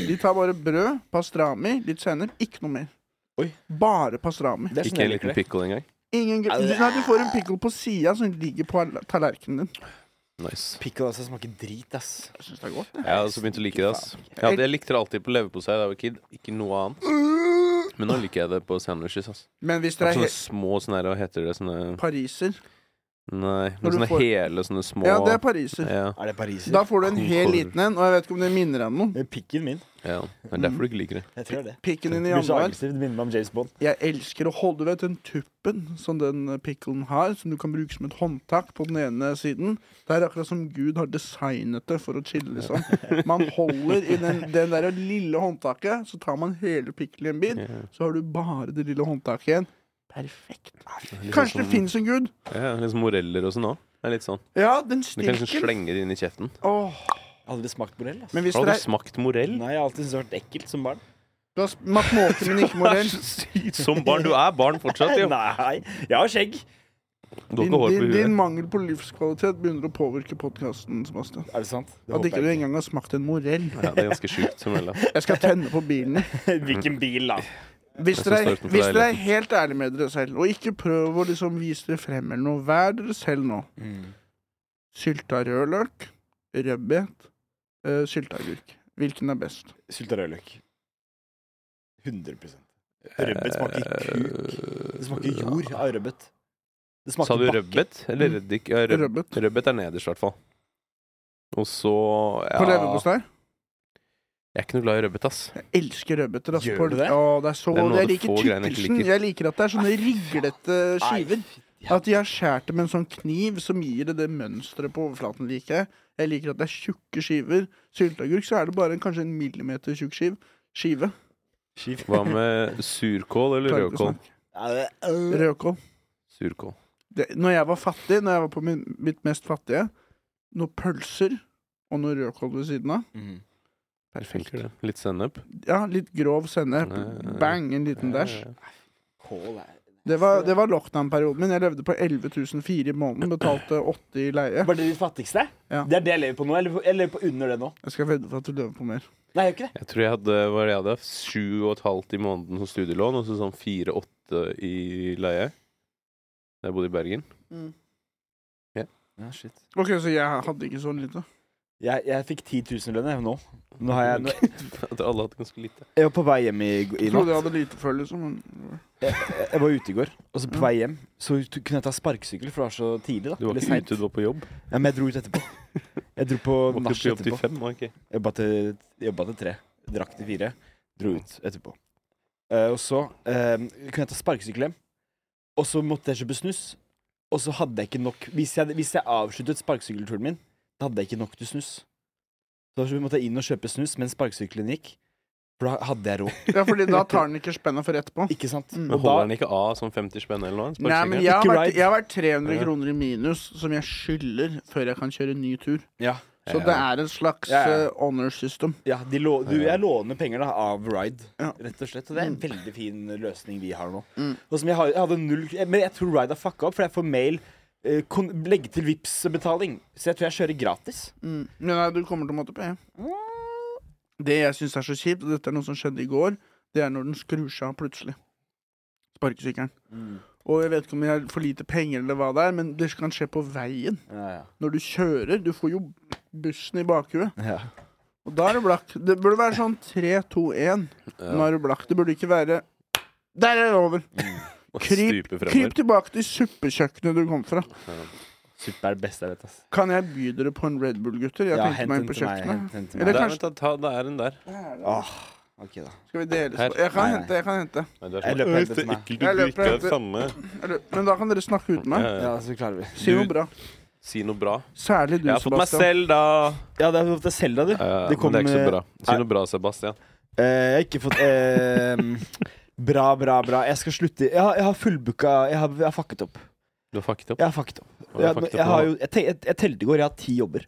Speaker 1: De tar bare brød, pastrami, litt sennep, ikke noe mer.
Speaker 5: Oi.
Speaker 1: Bare pastrami.
Speaker 5: Det er sånn
Speaker 3: Ikke
Speaker 5: jeg
Speaker 3: en
Speaker 5: liker
Speaker 3: liten
Speaker 5: det.
Speaker 3: pickle engang.
Speaker 1: Ingen gr-
Speaker 5: Au.
Speaker 1: Nei, du får en pickle på sida som ligger på al- tallerkenen din.
Speaker 3: Nice.
Speaker 5: Pickle altså smaker drit, ass.
Speaker 1: Jeg syns det er godt, det.
Speaker 3: Jeg har også begynt å like det. ass Ja, det likte jeg alltid på leverpostei da jeg var kid. Ikke noe annet. Men nå liker jeg det på sandwiches. ass
Speaker 1: Men hvis dere
Speaker 3: Det
Speaker 1: er he
Speaker 3: er
Speaker 5: Altså,
Speaker 3: sånne små sånne her, hva heter det? Sånne
Speaker 1: pariser
Speaker 3: Nei,
Speaker 1: Når
Speaker 3: men
Speaker 1: du
Speaker 3: sånne
Speaker 1: får-
Speaker 3: hele, sånne små
Speaker 1: Ja, det er pariser.
Speaker 3: ja,
Speaker 4: Er det pariser?
Speaker 1: Da får du en hel
Speaker 3: Concord.
Speaker 1: liten en, og jeg vet ikke om det minner deg om noe.
Speaker 4: Pikken min.
Speaker 3: ja. Det er derfor du ikke liker det.
Speaker 4: Jeg tror det.
Speaker 1: Pikken din i
Speaker 4: Blir så
Speaker 1: januar.
Speaker 4: aggressiv. Det minner meg om James Bond.
Speaker 1: Jeg elsker å holde du vet, den tuppen som den eh, picklen har, som du kan bruke som et håndtak på den ene siden. Det er akkurat som Gud har designet det for å chille sånn. Man holder i den, den der lille håndtaket, så tar man hele pikkelen i en bit,
Speaker 3: Ja.
Speaker 1: så har du bare det lille håndtaket igjen. Perfekt.
Speaker 3: Litt
Speaker 1: Kanskje det
Speaker 3: sånn-
Speaker 1: fins en gud?
Speaker 3: Ja, litt sånn moreller og sånn òg. Det er litt sånn.
Speaker 1: Ja, den
Speaker 3: Du kan liksom
Speaker 1: stinker.
Speaker 3: slenge det inn i kjeften.
Speaker 1: Åh,
Speaker 4: Aldri smakt morell. ass.
Speaker 1: men hvis
Speaker 3: Har du
Speaker 1: dere er
Speaker 3: smakt morell?
Speaker 4: Nei, jeg har alltid syntes det har vært ekkelt som barn.
Speaker 1: Du har smakt måke, men ikke
Speaker 3: Du er
Speaker 1: morell.
Speaker 3: så syk Som barn. Du er barn fortsatt, jo.
Speaker 4: Nei, jeg har skjegg.
Speaker 3: Du har
Speaker 1: Din,
Speaker 3: ikke hår på
Speaker 1: din, din
Speaker 3: huet.
Speaker 1: mangel på livskvalitet begynner å påvirke podkasten, Sebastian.
Speaker 4: Er det sant?
Speaker 1: At ikke du engang har smakt en morell.
Speaker 3: Ja, det er ganske sjukt. som vel, da.
Speaker 1: Jeg skal tenne på bilen.
Speaker 4: Hvilken bil, da?
Speaker 1: Hvis
Speaker 3: Jeg
Speaker 1: dere,
Speaker 3: står
Speaker 1: er,
Speaker 3: utenfor
Speaker 1: hvis dere er helt ærlige med dere selv, og ikke prøv å liksom vise dere frem eller noe, vær dere selv nå. Sylta rødløk, rødbet, uh, sylteagurk. Hvilken er best?
Speaker 4: Sylta rødløk. 100
Speaker 3: Eh,
Speaker 4: Rødbet smaker kuk. Det smaker jord av rødbet. Det smaker
Speaker 3: Sa du
Speaker 4: bakke.
Speaker 3: rødbet eller reddik? Ja, rød-
Speaker 1: Mm. Rødbet.
Speaker 3: Rødbet er nederst, i hvert fall. Og så ja,
Speaker 1: På leverpostei?
Speaker 3: Jeg er ikke noe glad i rødbet, ass.
Speaker 1: Jeg elsker rødbeter. ass.
Speaker 4: Gjør
Speaker 1: På-
Speaker 4: du det?
Speaker 1: Å, det er så
Speaker 3: Det er
Speaker 1: godt.
Speaker 3: noe
Speaker 1: Jeg
Speaker 3: av det
Speaker 1: liker
Speaker 3: få greiene jeg ikke
Speaker 1: tykkelsen.
Speaker 3: liker.
Speaker 1: Jeg liker at det er sånne riglete skiver. At de har skåret det med en sånn kniv som gir det det mønsteret på overflaten. liker jeg. Jeg liker at det er tjukke skiver. Sylteagurk så er det bare en, kanskje en millimeter tjukk skiv. skive.
Speaker 3: Hva med surkål eller
Speaker 1: Klarer ikke å
Speaker 3: rødkål?
Speaker 1: snakke.
Speaker 4: Ja, det- øh.
Speaker 1: Rødkål.
Speaker 3: Surkål.
Speaker 1: det, når jeg var fattig, når jeg var på min, mitt mest fattige, noen pølser og noe rødkål ved siden av.
Speaker 5: Mhm.
Speaker 1: Perfekt.
Speaker 3: Funker det? Litt sennep?
Speaker 1: Ja, litt grov sennep.
Speaker 3: Ja, ja,
Speaker 1: Bang, en liten dash.
Speaker 3: Ja,
Speaker 4: Kål er
Speaker 1: Det var, det var lockdown-perioden min. Jeg levde på 11.004 i måneden, betalte 80 i leie.
Speaker 4: Var det ditt fattigste?
Speaker 1: Ja.
Speaker 4: Det er det jeg lever på nå. Jeg lever på, jeg lever på under det nå.
Speaker 1: Jeg skal vedde for at du lever på mer.
Speaker 4: Nei, jeg gjør ikke det.
Speaker 3: Jeg tror jeg hadde hva var det jeg hadde, sju og et halvt i måneden som studielån, og så sånn fire-åtte i leie. Da jeg bodde i Bergen.
Speaker 4: Ja, shit.
Speaker 1: Ok, så jeg hadde ikke så lite.
Speaker 4: Jeg, jeg fikk 10 000 lønn jeg, nå. Nå har jeg, nå,
Speaker 3: At alle hadde ganske lite.
Speaker 4: jeg var på vei hjem i, i
Speaker 1: Jeg
Speaker 4: natt.
Speaker 1: trodde jeg hadde lite før, liksom. Men...
Speaker 4: Jeg, jeg var ute i går, og så på vei hjem så t- kunne jeg ta sparkesykkel, for det var så tidlig.
Speaker 3: Mm.
Speaker 4: da
Speaker 3: Du var
Speaker 4: Eller
Speaker 3: ikke
Speaker 4: sent.
Speaker 3: ute, du var på jobb.
Speaker 4: Ja, Men jeg dro ut etterpå. Jeg dro på
Speaker 3: Du var
Speaker 4: nach
Speaker 3: ikke på jobb til
Speaker 4: etterpå.
Speaker 3: fem, var ikke?
Speaker 4: Jobba til, jobba til tre. Drakk til fire. Dro ut etterpå. Eh, og så eh, kunne jeg ta sparkesykkel hjem. Og så måtte jeg kjøpe snus. Og så hadde jeg ikke nok Hvis jeg, hvis jeg avsluttet sparkesykkelturen min, da hadde jeg ikke nok til snus. Så måtte jeg inn og kjøpe snus mens sparkesykkelen gikk. For da hadde jeg råd.
Speaker 1: Ja, fordi da tar den ikke spenna for etterpå.
Speaker 4: Ikke sant?
Speaker 1: Mm.
Speaker 3: Men
Speaker 4: Og da-
Speaker 3: holder den ikke av sånn 50 spenn eller noe?
Speaker 1: Nei, men
Speaker 3: sparkesykkelen?
Speaker 1: jeg har,
Speaker 4: Ikke
Speaker 1: vært,
Speaker 4: ride.
Speaker 1: jeg har vært 300
Speaker 3: Ja.
Speaker 1: kroner i minus som jeg skylder før jeg kan kjøre ny tur.
Speaker 4: Ja.
Speaker 1: Så det er en slags
Speaker 4: Ja, ja.
Speaker 1: eh, honor system.
Speaker 4: Ja, de lå, du, jeg låner penger da, av Ride,
Speaker 1: Ja.
Speaker 4: rett og slett. Og det er en
Speaker 1: Mm.
Speaker 4: veldig fin eh, løsning vi har nå.
Speaker 1: Mm.
Speaker 4: Og som jeg, har, jeg hadde null Men jeg tror Ride har fucka opp, for jeg får mail. eh, kon, legg til vips betaling Så jeg tror jeg kjører gratis.
Speaker 1: Mm. Men Nei, du kommer til å måtte pe. Det jeg syns er så kjipt, og dette er noe som skjedde i går, det er når den skrur seg av plutselig. Sparkesykkelen.
Speaker 4: Mm.
Speaker 1: Og jeg vet ikke om jeg har for lite penger eller hva det er, men det kan skje på veien.
Speaker 4: Ja, ja.
Speaker 1: Når du kjører. Du får jo bussen i bakhuet. Og da er du blakk. Det burde være sånn 3, 2, 1. Nå er du blakk. Det burde ikke være Der er det over!
Speaker 3: Og
Speaker 1: Kryp,
Speaker 3: stuper
Speaker 1: kryp
Speaker 3: fremover.
Speaker 1: tilbake til suppekjøkkenet du kom fra.
Speaker 4: Suppe er det beste jeg vet. Ass.
Speaker 1: Kan jeg by dere på en Red Bull, gutter? Jeg
Speaker 4: Ja,
Speaker 1: tenkte
Speaker 4: hent
Speaker 1: meg
Speaker 4: den
Speaker 1: inn på
Speaker 4: til meg,
Speaker 1: kjøkkenet.
Speaker 4: hent den til
Speaker 1: Eller
Speaker 4: meg.
Speaker 3: Der,
Speaker 1: kanskje-
Speaker 3: vent, da, ta, det er en der.
Speaker 4: OK, da.
Speaker 1: Skal vi deles
Speaker 3: Her.
Speaker 1: på? Jeg kan
Speaker 4: Nei, nei.
Speaker 1: hente, jeg kan hente.
Speaker 3: Nei, du er
Speaker 4: Jeg
Speaker 3: sånn,
Speaker 4: løper
Speaker 3: «Øy,
Speaker 4: helt
Speaker 3: det
Speaker 4: etter
Speaker 3: er
Speaker 4: meg.
Speaker 3: ekkelt,
Speaker 1: Jeg
Speaker 3: du
Speaker 1: løper
Speaker 3: ikke er
Speaker 1: helt-
Speaker 3: det samme.
Speaker 1: Eller, men da kan dere snakke uten meg.
Speaker 3: Ja,
Speaker 4: Ja, så klarer vi.
Speaker 1: Si noe bra.
Speaker 3: Si noe bra.
Speaker 1: Særlig du,
Speaker 3: Jeg har fått meg
Speaker 1: Sebastian.
Speaker 3: selv, da.
Speaker 4: Ja, det er Selda, du.
Speaker 3: Eh,
Speaker 4: Det kom,
Speaker 3: men det er ikke så
Speaker 4: eh,
Speaker 3: bra. Si noe bra, Sebastian.
Speaker 4: Eh, jeg har ikke fått eh, Bra, bra, bra. Jeg skal slutte. Jeg har, jeg har fullbooka jeg har, jeg har fucket opp.
Speaker 3: Du har fucket opp.
Speaker 4: Jeg har fucket opp.
Speaker 3: Du har
Speaker 4: Jeg,
Speaker 3: fucket
Speaker 4: jeg,
Speaker 3: opp nå.
Speaker 4: har jo, jeg, te- jeg, jeg telte i går. Jeg har ti jobber.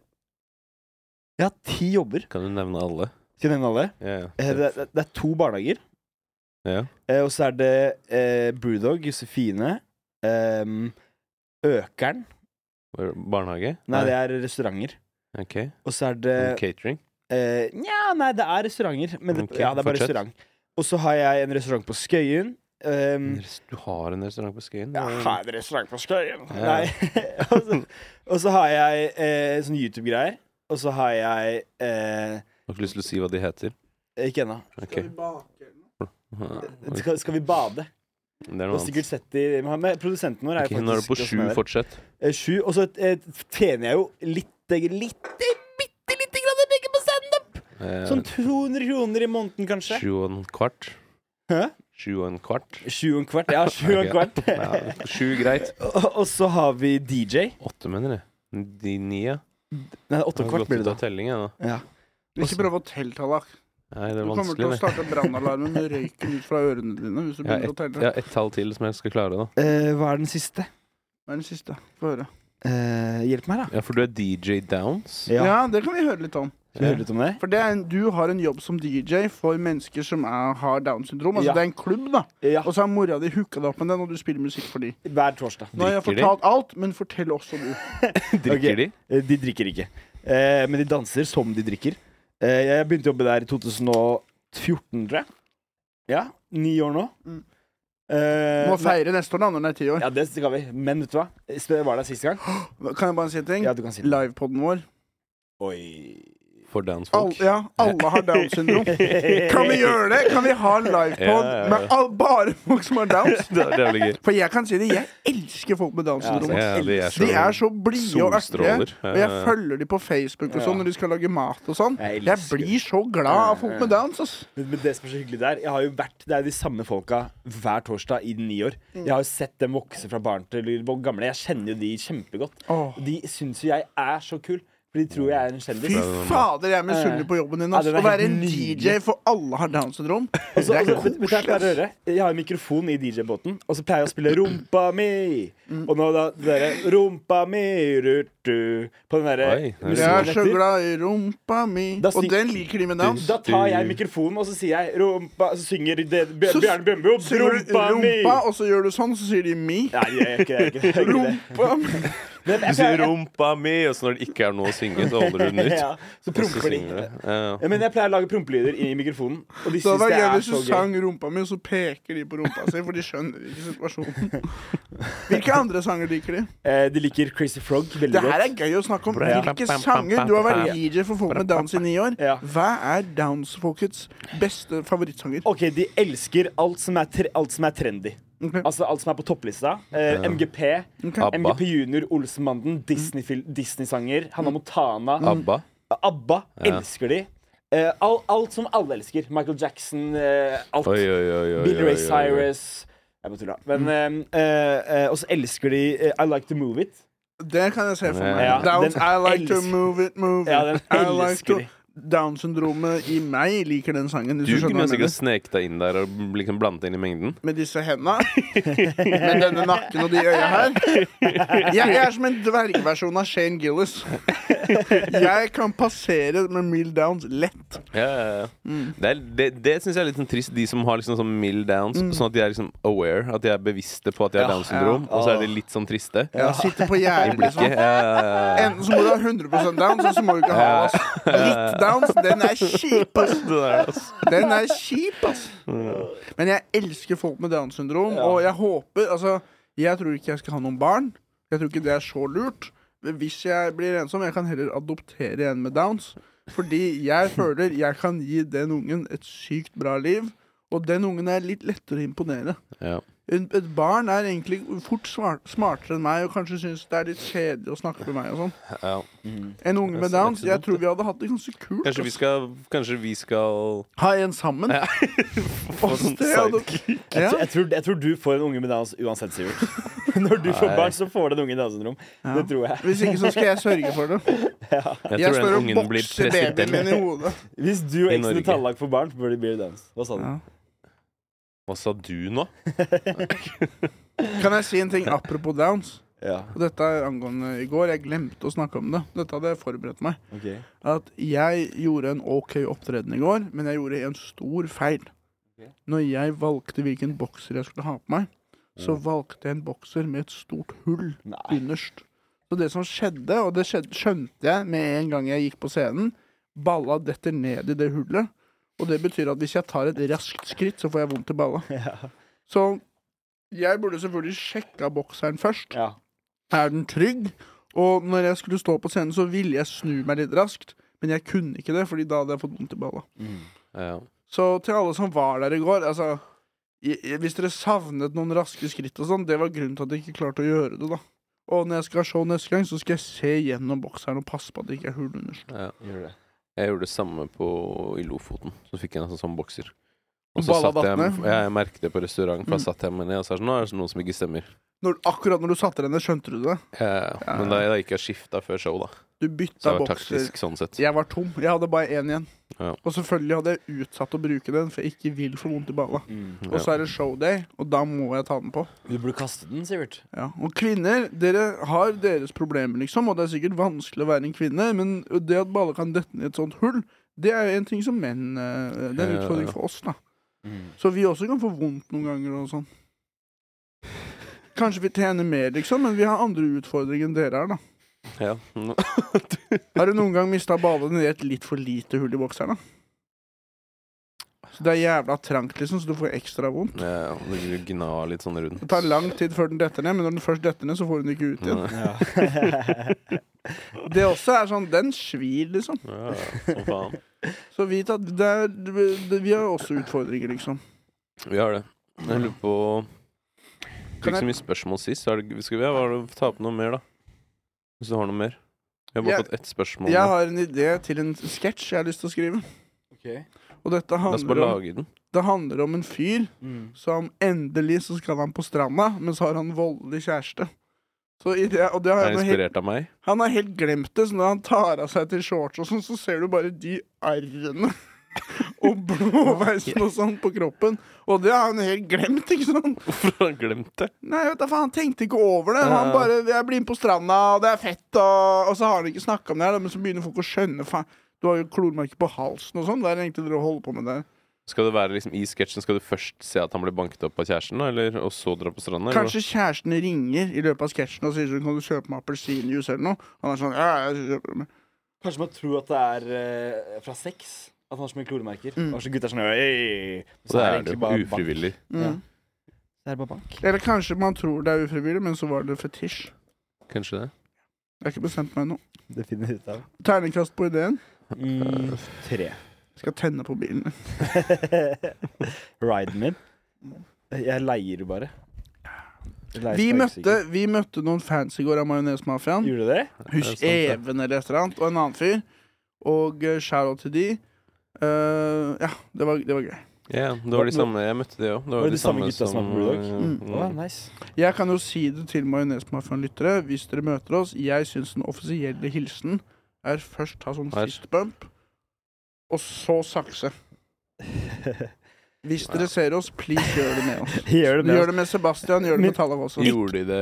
Speaker 4: Jeg har ti jobber.
Speaker 3: Kan du nevne alle?
Speaker 4: Skal jeg nevne alle?
Speaker 3: Ja,
Speaker 4: Eh,
Speaker 3: ja.
Speaker 4: Det, det, det er to barnehager.
Speaker 3: ja.
Speaker 4: Eh, og så er det eh, Brewdog, Josefine, ehm, Økeren
Speaker 3: Var det Barnehage?
Speaker 4: Nei, det er restauranter.
Speaker 3: Ok.
Speaker 4: Og så er det
Speaker 3: Catering?
Speaker 4: eh, Nja, nei, det er restauranter. Men det,
Speaker 3: Ok,
Speaker 4: ja, det er bare
Speaker 3: fortsett.
Speaker 4: restaurant. Og så har jeg en restaurant på Skøyen. ehm,
Speaker 3: Du har en restaurant på Skøyen?
Speaker 4: Jeg
Speaker 3: Det er-
Speaker 4: har en restaurant på Skøyen.
Speaker 3: Ja.
Speaker 4: Nei. og, så, og så har jeg eh, sånn YouTube-greier. Og så har jeg eh,
Speaker 3: Har ikke lyst til å si hva de heter.
Speaker 4: Ikke ennå.
Speaker 3: Ok.
Speaker 1: Skal vi bake eller noe?
Speaker 3: Ja, ok.
Speaker 4: Skal, skal vi bade?
Speaker 3: Det er
Speaker 4: Du
Speaker 3: noe
Speaker 4: har sikkert
Speaker 3: annet.
Speaker 4: sett de men- men Produsenten vår er
Speaker 3: Ok,
Speaker 4: jo
Speaker 3: nå er det
Speaker 4: faktisk
Speaker 3: på sju,
Speaker 4: hvordan det er.
Speaker 3: fortsett.
Speaker 4: Eh, Sju. Og så eh, tjener jeg jo litt eh, Litt, bitte lite grann penger på standup!
Speaker 3: Eh,
Speaker 4: Sånn 200 kroner i måneden, kanskje.
Speaker 3: Sju og en kvart.
Speaker 4: Hæ?
Speaker 3: Sju og en kvart.
Speaker 4: Sju og en kvart. Ja, sju og en
Speaker 3: Ok.
Speaker 4: kvart.
Speaker 3: Ja, sju, greit.
Speaker 4: og, og så har vi DJ.
Speaker 3: Åtte, mener jeg. De ni, ja.
Speaker 4: Nei, åtte og en kvart blir det da.
Speaker 3: Telling, jeg, da.
Speaker 4: Ja.
Speaker 1: Ikke prøve å telle, Tallak.
Speaker 3: Nei, det
Speaker 1: Du
Speaker 3: er
Speaker 1: kommer til å
Speaker 3: vanskelig, det.
Speaker 1: starte brannalarmen med røyken ut fra ørene dine hvis du
Speaker 3: Jeg har
Speaker 1: begynner å
Speaker 3: ett
Speaker 1: telle.
Speaker 3: ja, et tall til som jeg skal klare, da.
Speaker 4: Eh, hva er den siste?
Speaker 1: Hva er den siste? Få høre.
Speaker 4: Eh, hjelp meg, da.
Speaker 3: Ja, for du er DJ Downs?
Speaker 1: Ja. det kan vi høre litt om.
Speaker 4: Skal vi høre litt om det?
Speaker 1: For det er en, du har en jobb som DJ for mennesker som er, har Downs syndrom. Altså
Speaker 4: Ja.
Speaker 1: det er en klubb, da.
Speaker 4: Ja,
Speaker 1: Og så har mora di hooka deg opp med den, og du spiller musikk for de.
Speaker 4: hver torsdag.
Speaker 1: Nå har jeg
Speaker 3: Drikker de?
Speaker 1: fortalt alt, men fortell også du.
Speaker 3: Drikker
Speaker 4: Ok.
Speaker 3: de?
Speaker 4: Eh, De drikker ikke, eh, men de danser som de drikker. Eh, jeg begynte å jobbe der i 2014, tror jeg. Ja, ni år nå.
Speaker 1: Mm.
Speaker 4: Eh,
Speaker 1: Må
Speaker 4: nei-
Speaker 1: feire neste år, da, når den er ti år.
Speaker 4: Ja, det skal vi. Men vet du hva? Jeg var der sist gang.
Speaker 1: Kan jeg bare si en ting?
Speaker 4: Ja, du kan si det.
Speaker 1: Livepoden vår.
Speaker 4: Oi.
Speaker 3: For downsfolk?
Speaker 1: All, ja, alle har Downs syndrom. Kan vi gjøre det? Kan vi ha en livepod
Speaker 3: Ja, ja, ja.
Speaker 1: med all, bare folk som har Downs?
Speaker 3: det er jævlig gøy.
Speaker 1: For jeg kan si det, jeg elsker folk med Downs
Speaker 4: Ja,
Speaker 1: syndrom.
Speaker 4: altså,
Speaker 1: ass.
Speaker 3: Ja, de er så,
Speaker 1: De er så blide og
Speaker 3: solstråler.
Speaker 1: artige. Og jeg
Speaker 3: Ja, ja.
Speaker 1: følger de på Facebook og
Speaker 4: Ja.
Speaker 1: sånn når de skal lage mat og sånn.
Speaker 4: Jeg
Speaker 1: Jeg
Speaker 4: elsker
Speaker 1: blir så glad av folk med Downs. Ass.
Speaker 4: Men men det som er så hyggelig der Jeg har jo vært, Det er jo de samme folka hver torsdag i ni år.
Speaker 1: Mm.
Speaker 4: Jeg har jo sett dem vokse fra barn til gamle. Jeg kjenner jo de kjempegodt.
Speaker 1: Åh.
Speaker 4: Og De syns jo jeg er så kul, for de tror jeg er en
Speaker 1: Fy
Speaker 4: kjendis.
Speaker 1: fader, jeg er misunnelig på jobben din. Ass.
Speaker 4: eh. Ja, den
Speaker 1: Å
Speaker 4: er
Speaker 1: være en
Speaker 4: helt nydelig.
Speaker 1: DJ for alle har Downs syndrom.
Speaker 4: Og så-
Speaker 1: Det er
Speaker 4: og så- men-
Speaker 1: koselig,
Speaker 4: men Jeg pleier å
Speaker 1: ass.
Speaker 4: høre Jeg har en mikrofon i DJ-båten, og så pleier jeg å spille Rumpa mi.
Speaker 1: Mm.
Speaker 4: Og nå da det derre Rumpa mi rutu På den
Speaker 3: Oi,
Speaker 4: derre
Speaker 3: det er
Speaker 1: Jeg er så
Speaker 4: musikken etter.
Speaker 1: glad i rumpa mi.
Speaker 4: Da
Speaker 1: Og
Speaker 4: syng-
Speaker 1: den liker de med Downs.
Speaker 4: Da tar jeg mikrofonen, og så sier jeg Rumpa Så synger det Bjør-
Speaker 1: Så
Speaker 4: Bjarne Bjørnbo
Speaker 1: Synger du
Speaker 4: Rumpa mi.
Speaker 1: rumpa, og så gjør du sånn, så sier de mi.
Speaker 4: Nei, jeg gjør ikke det. Jeg gjør ikke det.
Speaker 1: Rumpa mi.
Speaker 4: Men
Speaker 3: Du
Speaker 4: jeg-
Speaker 3: sier
Speaker 4: jeg-
Speaker 3: 'rumpa mi', og så når det ikke er noe å synge, så holder du den ut.
Speaker 4: Ja,
Speaker 3: Og
Speaker 4: så
Speaker 3: så
Speaker 4: promper
Speaker 3: synger
Speaker 4: de.
Speaker 3: du. Ja, ja.
Speaker 4: Ja, men jeg pleier å lage prompelyder i mikrofonen, og de
Speaker 1: Så
Speaker 4: syns
Speaker 1: det var
Speaker 4: det
Speaker 1: gøy
Speaker 4: er
Speaker 1: hvis du
Speaker 4: så gøy.
Speaker 1: sang rumpa mi, og så peker de på rumpa si, for de skjønner ikke situasjonen. Hvilke andre sanger liker de?
Speaker 4: Eh, De liker Crazy Frog veldig
Speaker 1: Det her er
Speaker 4: godt.
Speaker 1: gøy å snakke om.
Speaker 3: Ja.
Speaker 1: Hvilke sanger Du har vært DJ for folk med Downs i ni år.
Speaker 4: Ja.
Speaker 1: Hva er Downs-folkets beste favorittsanger?
Speaker 4: OK, de elsker alt som er, tre alt som er trendy.
Speaker 1: Ok.
Speaker 4: Altså alt som er på topplista. Eh, MGP,
Speaker 1: Ok.
Speaker 3: Abba.
Speaker 4: MGP Junior, Olsenbanden, Disney-fil- Disney-sanger,
Speaker 1: Mm.
Speaker 4: Hanna Montana,
Speaker 3: ABBA.
Speaker 4: ABBA. Elsker de. Eh, all, alt som alle elsker. Michael Jackson, eh, alt.
Speaker 3: Oi, oi, oi. oi, oi,
Speaker 4: Billy Ray
Speaker 3: oi, oi.
Speaker 4: Cyrus. Jeg bare tulla. Men eh, eh, eh, Og så elsker de eh, I Like To Move It.
Speaker 1: Det kan jeg se for meg.
Speaker 3: Ja,
Speaker 1: Downs,
Speaker 4: den
Speaker 1: I like to
Speaker 4: elsker-
Speaker 1: move it, move
Speaker 4: Ja, den
Speaker 1: it. I like
Speaker 4: elsker
Speaker 1: to
Speaker 4: de.
Speaker 1: Down-syndromet i meg liker den sangen. Hvis
Speaker 3: Du
Speaker 1: du skjønner
Speaker 3: kunne
Speaker 1: hva jeg
Speaker 3: sikkert
Speaker 1: mener.
Speaker 3: sneket deg inn der og liksom blandet inn i mengden.
Speaker 1: Med disse henda. Med denne nakken og de øya her. Jeg, jeg er som en dvergversjon av Shane Gillis. Jeg kan passere med mild downs lett.
Speaker 3: Ja, ja, ja.
Speaker 1: Mm.
Speaker 3: Det, er- det, det syns jeg er litt sånn trist, de som har liksom sånn mild downs.
Speaker 1: Mm.
Speaker 3: Sånn at de er liksom aware, at de er bevisste på at de har Downs syndrom, og så er de litt sånn triste.
Speaker 1: Ja, sitte på
Speaker 3: I
Speaker 1: gjerdet, liksom.
Speaker 3: blikket. Ja, ja, ja, ja.
Speaker 1: Enten så må du ha 100 downs, og så må du ikke ha ass. Litt downs, den er kjip, ass.
Speaker 3: Det der, altså.
Speaker 1: Den er kjip, ass. Men jeg elsker folk med Downs syndrom, og jeg håper Altså, jeg tror ikke jeg skal ha noen barn. Jeg tror ikke det er så lurt. Men hvis jeg blir ensom, jeg kan heller adoptere en med Downs. Fordi jeg føler jeg kan gi den ungen et sykt bra liv, og den ungen er litt lettere å imponere.
Speaker 3: Ja.
Speaker 1: en- Et barn er egentlig fort smart, smartere enn meg og kanskje syns det er litt kjedelig å snakke med meg og sånn.
Speaker 3: Ja.
Speaker 1: En unge med
Speaker 3: Det er ikke
Speaker 1: downs,
Speaker 3: så
Speaker 1: jeg
Speaker 3: dumt,
Speaker 1: tror vi hadde hatt det ganske kult.
Speaker 3: Kanskje vi
Speaker 1: ass.
Speaker 3: skal Kanskje vi skal
Speaker 1: Ha en sammen.
Speaker 3: Ja.
Speaker 1: Få
Speaker 3: sånn
Speaker 1: det hadde-
Speaker 4: Jeg,
Speaker 1: ja.
Speaker 4: jeg, tror, jeg tror du får en unge med Downs uansett, Sivert. Når du får
Speaker 3: Nei.
Speaker 4: barn, så får du en unge med Downs syndrom. Det tror jeg.
Speaker 1: Hvis ikke så skal jeg sørge for det.
Speaker 3: Jeg,
Speaker 1: Jeg
Speaker 3: tror
Speaker 1: står
Speaker 3: den
Speaker 1: og
Speaker 3: ungen blir
Speaker 1: bokser babyen min
Speaker 3: president.
Speaker 1: i hodet.
Speaker 4: Hvis du og
Speaker 3: I
Speaker 4: eksen
Speaker 3: Norge.
Speaker 4: til Tallak får barn, blir det Beer Downs. Hva
Speaker 3: Sånn.
Speaker 4: sa du?
Speaker 1: Ja.
Speaker 3: Hva sa du nå?
Speaker 1: Kan jeg si en ting apropos downs?
Speaker 4: Ja,
Speaker 1: Og dette er angående i går. Jeg glemte å snakke om det. Dette hadde jeg forberedt meg.
Speaker 4: ok
Speaker 1: At jeg gjorde en OK opptreden i går, men jeg gjorde en stor feil. Når jeg valgte hvilken bokser jeg skulle ha på meg, så
Speaker 3: Mm.
Speaker 1: valgte jeg en bokser med et stort hull
Speaker 4: Nei.
Speaker 1: innerst. Så det som skjedde, og det skjedde, skjønte jeg med en gang jeg gikk på scenen, balla detter ned i det hullet. Og det betyr at hvis jeg tar et raskt skritt, så får jeg vondt i balla. Så jeg burde selvfølgelig sjekka bokseren først.
Speaker 4: Ja.
Speaker 1: Er den trygg? Og når jeg skulle stå på scenen, så ville jeg snu meg litt raskt. Men jeg kunne ikke det, fordi da hadde jeg fått vondt i balla.
Speaker 3: Ja.
Speaker 1: Så til alle som var der i går altså, i- i- Hvis dere savnet noen raske skritt og sånn, det var grunnen til at jeg ikke klarte å gjøre det, da. Og når jeg skal ha show neste gang, så skal jeg se gjennom bokseren og passe på at det ikke er hull underst.
Speaker 3: ja.
Speaker 4: Gjør det.
Speaker 3: Jeg gjorde det samme på, i Lofoten. Så fikk jeg en sånn, sånn bokser. Og så
Speaker 1: Balla
Speaker 3: satt jeg,
Speaker 1: datt ned.
Speaker 3: ja, jeg merket det på restaurant, for da
Speaker 1: Mm.
Speaker 3: satt jeg meg ned og sa sånn Nå er det noe som ikke stemmer.
Speaker 1: Når, akkurat når du satte deg ned, skjønte du det?
Speaker 3: Ja, ja. Eh, Men da, da gikk jeg og skifta før show, da.
Speaker 1: Du
Speaker 3: Så
Speaker 1: bytta
Speaker 3: jeg var
Speaker 1: bokser.
Speaker 3: taktisk sånn sett.
Speaker 1: Jeg var tom. Jeg hadde bare én igjen.
Speaker 3: Ja.
Speaker 1: Og selvfølgelig hadde jeg utsatt å bruke den, for jeg ikke vil få vondt i balla.
Speaker 4: Mm.
Speaker 3: Ja.
Speaker 1: Og så er det showday, og da må jeg ta den på.
Speaker 4: Du burde kaste den, Sivert.
Speaker 1: Ja, og kvinner, dere har deres problemer, liksom, og det er sikkert vanskelig å være en kvinne, men det at baller kan dette ned i et sånt hull, det er jo en ting som menn eh, Det er en
Speaker 3: Ja,
Speaker 1: utfordring
Speaker 3: ja.
Speaker 1: for oss, da.
Speaker 4: Mm.
Speaker 1: Så vi også kan få vondt noen ganger og sånn. Kanskje vi tjener mer, liksom, men vi har andre utfordringer enn dere har, da.
Speaker 3: Ja. Mm.
Speaker 1: Har du noen gang mista ballene i et litt for lite hull i bokseren, da? Så det er jævla trangt, liksom, så du får ekstra vondt.
Speaker 3: ja. og det vil Gna litt sånn rundt.
Speaker 1: Det tar lang tid før den detter ned, men når den først detter ned, så får hun den ikke ut igjen.
Speaker 3: Ja,
Speaker 4: Ja.
Speaker 1: Det også er sånn Den svir, liksom.
Speaker 3: ja, som faen.
Speaker 1: Så vit at det er, det, vi har også utfordringer, liksom.
Speaker 3: Vi har det. Jeg lurer på
Speaker 1: Kan
Speaker 3: Fikk så mye spørsmål sist. Er det, skal vi ja, hva er det- ta opp noe mer, da? Hvis du har noe mer? Jeg har bare
Speaker 1: Jeg-
Speaker 3: fått ett spørsmål.
Speaker 1: Jeg
Speaker 3: nå.
Speaker 1: har en idé til en sketsj jeg har lyst til å skrive.
Speaker 5: Ok.
Speaker 1: Og dette
Speaker 3: La oss bare
Speaker 1: handler om,
Speaker 3: lage den.
Speaker 1: det handler om en fyr
Speaker 4: Mm.
Speaker 1: som endelig så skal han på stranda, men så har han voldelig kjæreste. Så i det, og det har
Speaker 3: Er
Speaker 1: jeg
Speaker 3: den
Speaker 1: noe helt,
Speaker 3: inspirert av meg?
Speaker 1: han har helt glemt det, så når han tar av seg til shorts og sånn, så ser du bare de arrene. Og blåveisen og sånn på kroppen. Og det har han helt glemt, ikke sant?
Speaker 3: Hvorfor har han glemt det?
Speaker 1: Nei, vet du, faen, han tenkte ikke over det. Han
Speaker 3: Ja.
Speaker 1: bare 'Jeg blir med på stranda, og det er fett', og, og så har han ikke snakka om det, her, da, men så begynner folk å skjønne faen, Du har jo klormerker på halsen og sånn. Hva er det egentlig dere holder på med der?
Speaker 3: Skal det være liksom i sketsjen Skal du først se at han ble banket opp av kjæresten, da, eller, og så dra på stranda? eller?
Speaker 1: Kanskje kjæresten ringer i løpet av sketsjen og sier sånn 'Kan du kjøpe meg appelsinjuice eller noe?' Han er sånn ja, jeg kjøper det med».
Speaker 4: Kanskje man tror at det er eh, fra sex. At han har så mye kloremerker.
Speaker 1: Mm.
Speaker 4: Og så gutta er sånn «Øy!»
Speaker 3: Så er det jo ufrivillig.
Speaker 1: mm.
Speaker 4: Ja. Det er bare bank.
Speaker 1: Eller kanskje man tror det er ufrivillig, men så var det fetisj.
Speaker 3: Kanskje det.
Speaker 1: Jeg har ikke bestemt meg ennå.
Speaker 4: Det finner vi ut av.
Speaker 1: Terningkast på ideen.
Speaker 4: Mm, tre.
Speaker 1: Skal tenne på bilen.
Speaker 4: Riden min. Jeg leier bare. Jeg leier
Speaker 1: Vi møtte,
Speaker 4: sparkesykkel.
Speaker 1: vi møtte noen fans i går av Majonesmafiaen.
Speaker 4: Gjorde du det?
Speaker 1: Husk
Speaker 3: Det er sant,
Speaker 1: Even eller et eller annet, og en annen fyr. Og uh, shout-out til de. Eh, ja, det var, det var gøy.
Speaker 3: Ja, det var de samme Jeg møtte de eh, òg. Det
Speaker 4: Var det de samme gutta som var på Bulldog?
Speaker 1: Mm.
Speaker 4: Å, nice.
Speaker 1: Jeg kan jo si det til Majonesmafiaen-lyttere hvis dere møter oss. Jeg syns den offisielle hilsen er først ta sånn
Speaker 3: Her.
Speaker 1: fistbump, og så sakse. Hvis dere ser oss, please gjør det med oss.
Speaker 4: Gjør det
Speaker 1: Gjør det med Sebastian, gjør det med Tallak også.
Speaker 3: Gjorde de det,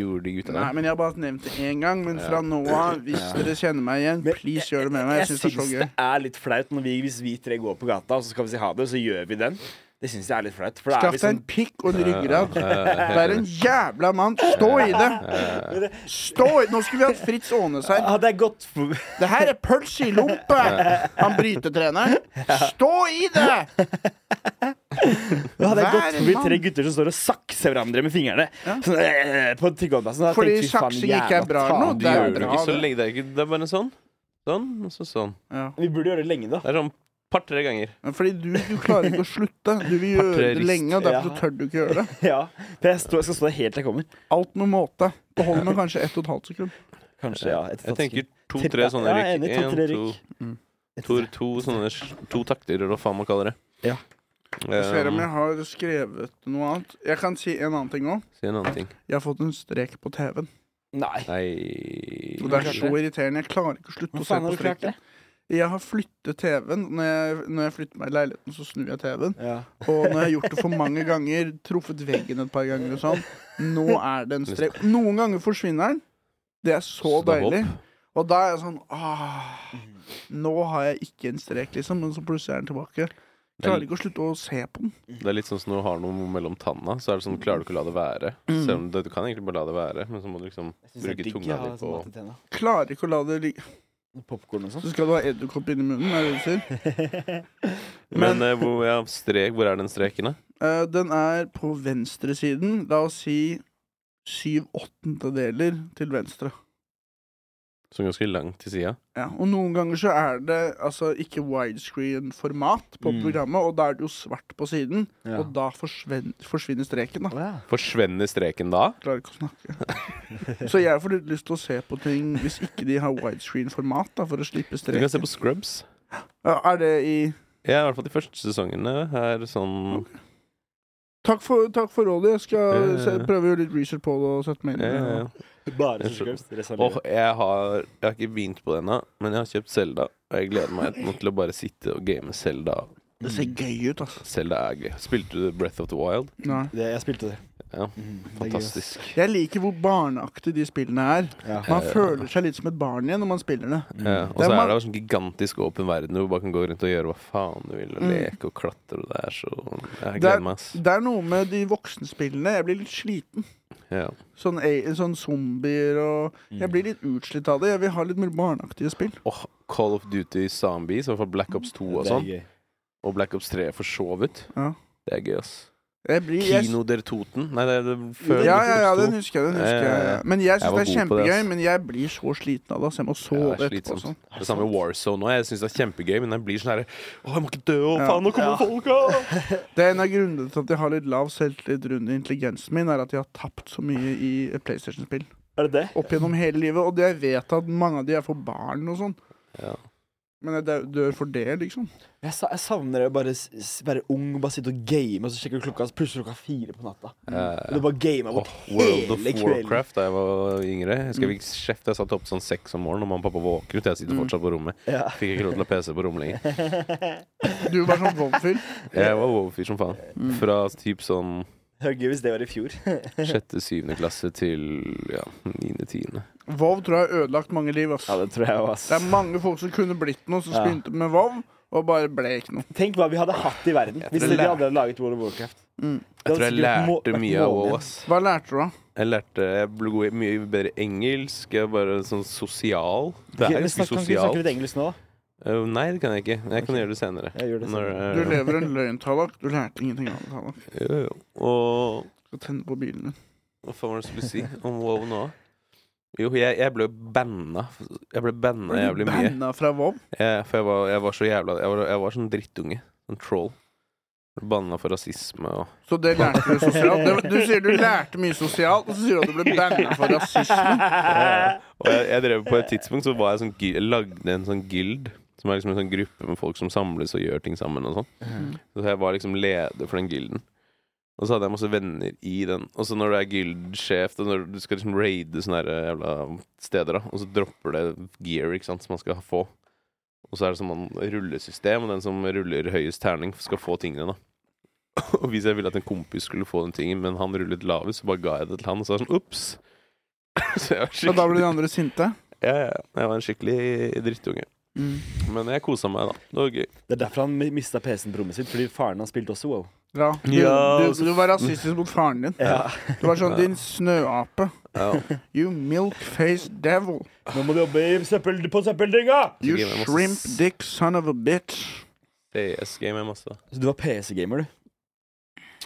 Speaker 3: gjorde de gutta
Speaker 1: Nei,
Speaker 3: der?
Speaker 1: men Jeg har bare nevnt det én gang, men
Speaker 3: Ja.
Speaker 1: fra nå av, hvis dere kjenner meg igjen,
Speaker 4: Men
Speaker 1: please gjør det med meg. Jeg syns det er så gøy.
Speaker 4: det er litt flaut når vi, hvis vi tre går på gata og så skal vi si ha det, så gjør vi den. Det syns jeg er litt flaut. For da er
Speaker 1: Skaff
Speaker 4: vi
Speaker 1: deg
Speaker 4: sånn
Speaker 1: en pikk og en ryggrad.
Speaker 3: Ja, ja, ja,
Speaker 1: Det er en jævla mann. Stå i det!
Speaker 3: eh,
Speaker 1: Stå i det. Nå skulle vi hatt Fritz Aanes her.
Speaker 4: Hadde jeg gått for
Speaker 1: Det her er pølse i lompe! Han brytetreneren. Stå i det!
Speaker 4: Hadde jeg
Speaker 1: Hver
Speaker 4: gått forbi
Speaker 1: mann.
Speaker 4: tre gutter som står og sakser hverandre med fingrene sånn, eh, på tyggeoddbassen
Speaker 1: Fordi saksing ikke er bra nå,
Speaker 3: Du
Speaker 1: det er
Speaker 3: gjør
Speaker 1: bra,
Speaker 3: det ikke så
Speaker 1: det.
Speaker 3: lenge. Det er, ikke, det er bare sånn. Sånn, og så sånn.
Speaker 1: Ja.
Speaker 4: Vi burde gjøre det lenge, da.
Speaker 3: Det er sånn Par-tre ganger.
Speaker 1: Men Fordi du, du klarer ikke å slutte. Du vil gjøre det
Speaker 3: Parterist.
Speaker 1: lenge, og derfor
Speaker 4: Ja.
Speaker 1: tør du ikke gjøre det.
Speaker 4: Ja, for jeg, står, jeg skal stå der helt til jeg kommer.
Speaker 1: Alt med måte. Det holder med kanskje ett og et halvt sekund.
Speaker 4: Kanskje, ja. et
Speaker 3: Jeg tenker
Speaker 4: tattskritt.
Speaker 3: to-tre sånne
Speaker 4: Ja,
Speaker 3: rykk.
Speaker 4: enig, to-tre
Speaker 3: En,
Speaker 4: rykk. Mm.
Speaker 3: To, to, to sånne To takter, eller hva faen man kaller det.
Speaker 4: Ja.
Speaker 1: Jeg ser om
Speaker 3: Um,
Speaker 1: jeg har skrevet noe annet. Jeg kan si en annen ting òg.
Speaker 3: si en annen ting.
Speaker 1: Jeg har fått en strek på TV-en.
Speaker 4: Nei.
Speaker 3: Nei
Speaker 1: Og det er så irriterende. Jeg klarer ikke å slutte å
Speaker 4: Hvor
Speaker 1: se
Speaker 4: faen
Speaker 1: på
Speaker 4: har du klart
Speaker 1: streken.
Speaker 4: det?
Speaker 1: Jeg har flyttet TV-en. Når jeg, når jeg flytter meg i leiligheten, så snur jeg TV-en.
Speaker 4: Ja.
Speaker 1: Og når jeg har gjort det for mange ganger, truffet veggen et par ganger og sånn, nå er det en strek. Noen ganger forsvinner den. Det er så
Speaker 3: Stopp opp.
Speaker 1: deilig. Og da er jeg sånn ah, Nå har jeg ikke en strek, liksom. Men så plutselig er den tilbake. Klarer ikke å slutte å se på den.
Speaker 3: Det er litt sånn som når du har noe mellom tanna, så er det sånn, klarer du ikke å la det være.
Speaker 1: Mm.
Speaker 3: Selv om det, du kan egentlig bare la det være, men så må du liksom bruke tunga di
Speaker 4: sånn
Speaker 3: på
Speaker 1: Klarer ikke å la det ligge.
Speaker 4: Popkorn og sånn.
Speaker 1: Så skal du ha edderkopp inni munnen, er det det du sier?
Speaker 3: Men eh, hvor, ja, strek, hvor er den streken, da?
Speaker 1: Eh, den er på venstresiden. La oss si syv åttendedeler til venstre.
Speaker 3: Sånn ganske langt til sida.
Speaker 1: Ja, og noen ganger så er det altså ikke widescreen-format på
Speaker 4: Mm.
Speaker 1: programmet, og da er det jo svart på siden,
Speaker 4: Ja.
Speaker 1: og da forsvin- forsvinner streken, da.
Speaker 4: Å, ja.
Speaker 3: Forsvenner streken da?
Speaker 1: Klarer ikke å snakke. så jeg får litt lyst til å se på ting hvis ikke de har widescreen-format, da, for å slippe
Speaker 3: Du kan se
Speaker 1: streken.
Speaker 3: på Scrubs.
Speaker 1: Ja, er det i
Speaker 3: Ja, i hvert fall de første sesongene er sånn
Speaker 1: Takk for, takk for rådet. Jeg skal
Speaker 3: Ja, ja, ja.
Speaker 1: se, prøve å gjøre litt research på det og sette meg inn i
Speaker 3: ja,
Speaker 1: det.
Speaker 3: ja, ja.
Speaker 4: Bare
Speaker 3: Jeg
Speaker 4: så
Speaker 3: skjønner.
Speaker 4: skrømst. Resten av
Speaker 3: Åh,
Speaker 4: livet.
Speaker 3: jeg, har, jeg har ikke begynt på det ennå, men jeg har kjøpt Selda. Og jeg gleder meg nå til å bare sitte og game Selda.
Speaker 1: Det
Speaker 3: Mm.
Speaker 1: ser gøy ut, altså.
Speaker 3: Selda er gøy. Spilte du Breath of the Wild?
Speaker 1: Nei.
Speaker 4: Det, jeg spilte det.
Speaker 3: Ja,
Speaker 4: Mm, det er gøy, ass.
Speaker 3: Fantastisk.
Speaker 1: Jeg liker hvor barneaktig de spillene er.
Speaker 4: Ja.
Speaker 1: Man føler seg litt som et barn igjen når man spiller det.
Speaker 3: Ja,
Speaker 1: Det
Speaker 3: og så
Speaker 1: er
Speaker 3: er
Speaker 1: man-
Speaker 3: det jo sånn gigantisk åpen verden hvor du bare kan gå rundt og gjøre hva faen du vil, og
Speaker 1: Mm.
Speaker 3: leke og klatre og det er så Jeg
Speaker 1: Det er-
Speaker 3: gleder meg, ass.
Speaker 1: Det er noe med de voksenspillene. Jeg blir litt sliten.
Speaker 3: Ja.
Speaker 1: Sånn, a- sånn zombier og
Speaker 3: Mm.
Speaker 1: Jeg blir litt utslitt av det. Jeg vil ha litt mer barneaktige spill.
Speaker 3: Åh, Call of Duty Zombies, i hvert fall Black Ops 2 og
Speaker 4: Det er
Speaker 3: sånn,
Speaker 4: gøy.
Speaker 3: og Black Ops 3 for så vidt.
Speaker 1: Ja.
Speaker 3: Det er gøy, ass.
Speaker 1: Jeg blir, jeg,
Speaker 3: Kino der Toten. Nei, det er det
Speaker 1: ja,
Speaker 3: før
Speaker 1: ja, ja,
Speaker 3: Black Ops 2.
Speaker 1: den husker jeg. Den husker
Speaker 3: Ja, ja,
Speaker 1: jeg.
Speaker 3: ja.
Speaker 1: Men jeg
Speaker 3: Jeg
Speaker 1: syns
Speaker 3: var
Speaker 1: det er
Speaker 3: god på det,
Speaker 1: kjempegøy,
Speaker 3: ass.
Speaker 1: men jeg blir så sliten av det, så jeg må sove
Speaker 3: Ja, det er
Speaker 1: etterpå. og
Speaker 3: slitsomt.
Speaker 1: Sånn.
Speaker 3: Det samme med Warzone òg. Jeg syns det er kjempegøy, men jeg blir sånn herre Å, jeg må ikke dø, og
Speaker 1: Ja.
Speaker 3: faen, nå kommer folka!
Speaker 1: Det er en av grunnene til at jeg har litt lav selvtillit rundt intelligensen min, er at jeg har tapt så mye i PlayStation-spill
Speaker 4: Er det det?
Speaker 1: opp gjennom hele livet. Og det jeg vet at mange av de er for barn og sånn.
Speaker 3: Ja.
Speaker 1: Men jeg dau- dør for det, liksom.
Speaker 4: Jeg, sa, jeg savner å bare s- s- være ung, bare sitte og game, og så sjekker du klokka, så plutselig er klokka fire på natta. Og
Speaker 3: Eh,
Speaker 4: du bare gama
Speaker 3: åh,
Speaker 4: bort
Speaker 3: World of
Speaker 4: hele kvelden.
Speaker 3: Warcraft da jeg var yngre. Jeg husker jeg fikk kjeft. Jeg satt oppe sånn seks om morgenen, og mamma og pappa våknet. Jeg sitter fortsatt på rommet.
Speaker 4: Ja.
Speaker 3: Fikk ikke lov til å ha PC på rommet lenger.
Speaker 1: Du var sånn vovfyll.
Speaker 3: Jeg var overfyr som faen.
Speaker 1: Mm.
Speaker 3: Fra typ sånn
Speaker 4: Det var gøy hvis det var i fjor.
Speaker 3: sjette-syvende klasse til ja, niende-tiende.
Speaker 1: Vov tror jeg har ødelagt mange liv, ass.
Speaker 4: Ja, det tror jeg også,
Speaker 1: Det er mange folk som kunne blitt noe, som
Speaker 4: Ja.
Speaker 1: begynte med Vov, og bare ble ikke noe.
Speaker 4: Tenk hva vi hadde hatt i verden hvis
Speaker 3: tror
Speaker 4: de
Speaker 3: jeg lær-
Speaker 4: aldri hadde laget World of Warcraft.
Speaker 1: Mm.
Speaker 4: Det
Speaker 3: Jeg tror
Speaker 4: hadde
Speaker 3: jeg
Speaker 4: sikkert må-
Speaker 3: lærte
Speaker 4: vært
Speaker 3: mye av
Speaker 4: månen.
Speaker 3: WoW, ass.
Speaker 1: Hva lærte du, da?
Speaker 3: Jeg lærte Jeg ble god i mye bedre engelsk. Jeg bare sånn sosial. Det
Speaker 4: Ok,
Speaker 3: er ganske
Speaker 4: men snakk, kan ikke du snakke
Speaker 3: sosialt.
Speaker 4: litt engelsk nå, da?
Speaker 3: Eh, nei, det kan jeg ikke. Jeg kan gjøre det senere.
Speaker 4: Jeg gjør det
Speaker 3: Når,
Speaker 4: senere.
Speaker 1: Du
Speaker 3: eh,
Speaker 1: lever en løgn, Tallak. Du lærte ingenting av det, Tallak.
Speaker 3: Jo, jo. Og
Speaker 1: Skal tenne på bilen din.
Speaker 3: hva faen var det jeg skulle si om WoW nå? Jo, jeg, jeg ble banna. Jeg ble banna
Speaker 1: Ble du
Speaker 3: jævlig mye.
Speaker 1: banna fra Vov?
Speaker 3: Jeg, for jeg var, jeg var så jævla Jeg var, jeg var sånn drittunge. Sånn troll. Ble banna for rasisme og
Speaker 1: Så det lærte du sosialt? Det- Du sier du lærte mye sosialt, og så sier du at du ble banna for rasisme.
Speaker 3: Og jeg, jeg drev på et tidspunkt så var jeg sånn gi- Jeg lagde en sånn guild. Som er liksom en sånn gruppe med folk som samles og gjør ting sammen og sånn. Så jeg var liksom leder for den gilden. Og så hadde jeg masse venner i den. Og så når du er guildsjef, og når du skal liksom raide sånne her jævla steder, da, og så dropper det gear ikke sant, som man skal få. Og så er det sånn man rullesystem, og den som ruller høyest terning, skal få tingene, da. Og hvis jeg ville at en kompis skulle få den tingen, men han rullet lavest, så bare ga jeg det til han, og så var det sånn ops! så jeg
Speaker 1: Og
Speaker 3: var
Speaker 1: da ble
Speaker 3: skikkelig
Speaker 1: de andre sinte?
Speaker 3: ja, ja, ja. Jeg var en skikkelig drittunge. Men jeg kosa meg, da. Det var gøy.
Speaker 4: Det er derfor han mista PC-en på rommet sitt, fordi faren hans spilte også wow.
Speaker 1: Ja.
Speaker 3: Ja,
Speaker 1: Du,
Speaker 3: og så-
Speaker 1: du, du var rasistisk mot faren din.
Speaker 4: Ja.
Speaker 1: Du var sånn din snøape.
Speaker 3: Ja.
Speaker 1: You milk-faced devil.
Speaker 4: Nå må du jobbe i søppel, på søppeldynga!
Speaker 1: You
Speaker 3: Så gir jeg masse
Speaker 1: shrimp
Speaker 3: s-
Speaker 1: dick son of a bitch.
Speaker 3: PS game jeg masse.
Speaker 4: Så du var PC-gamer, du.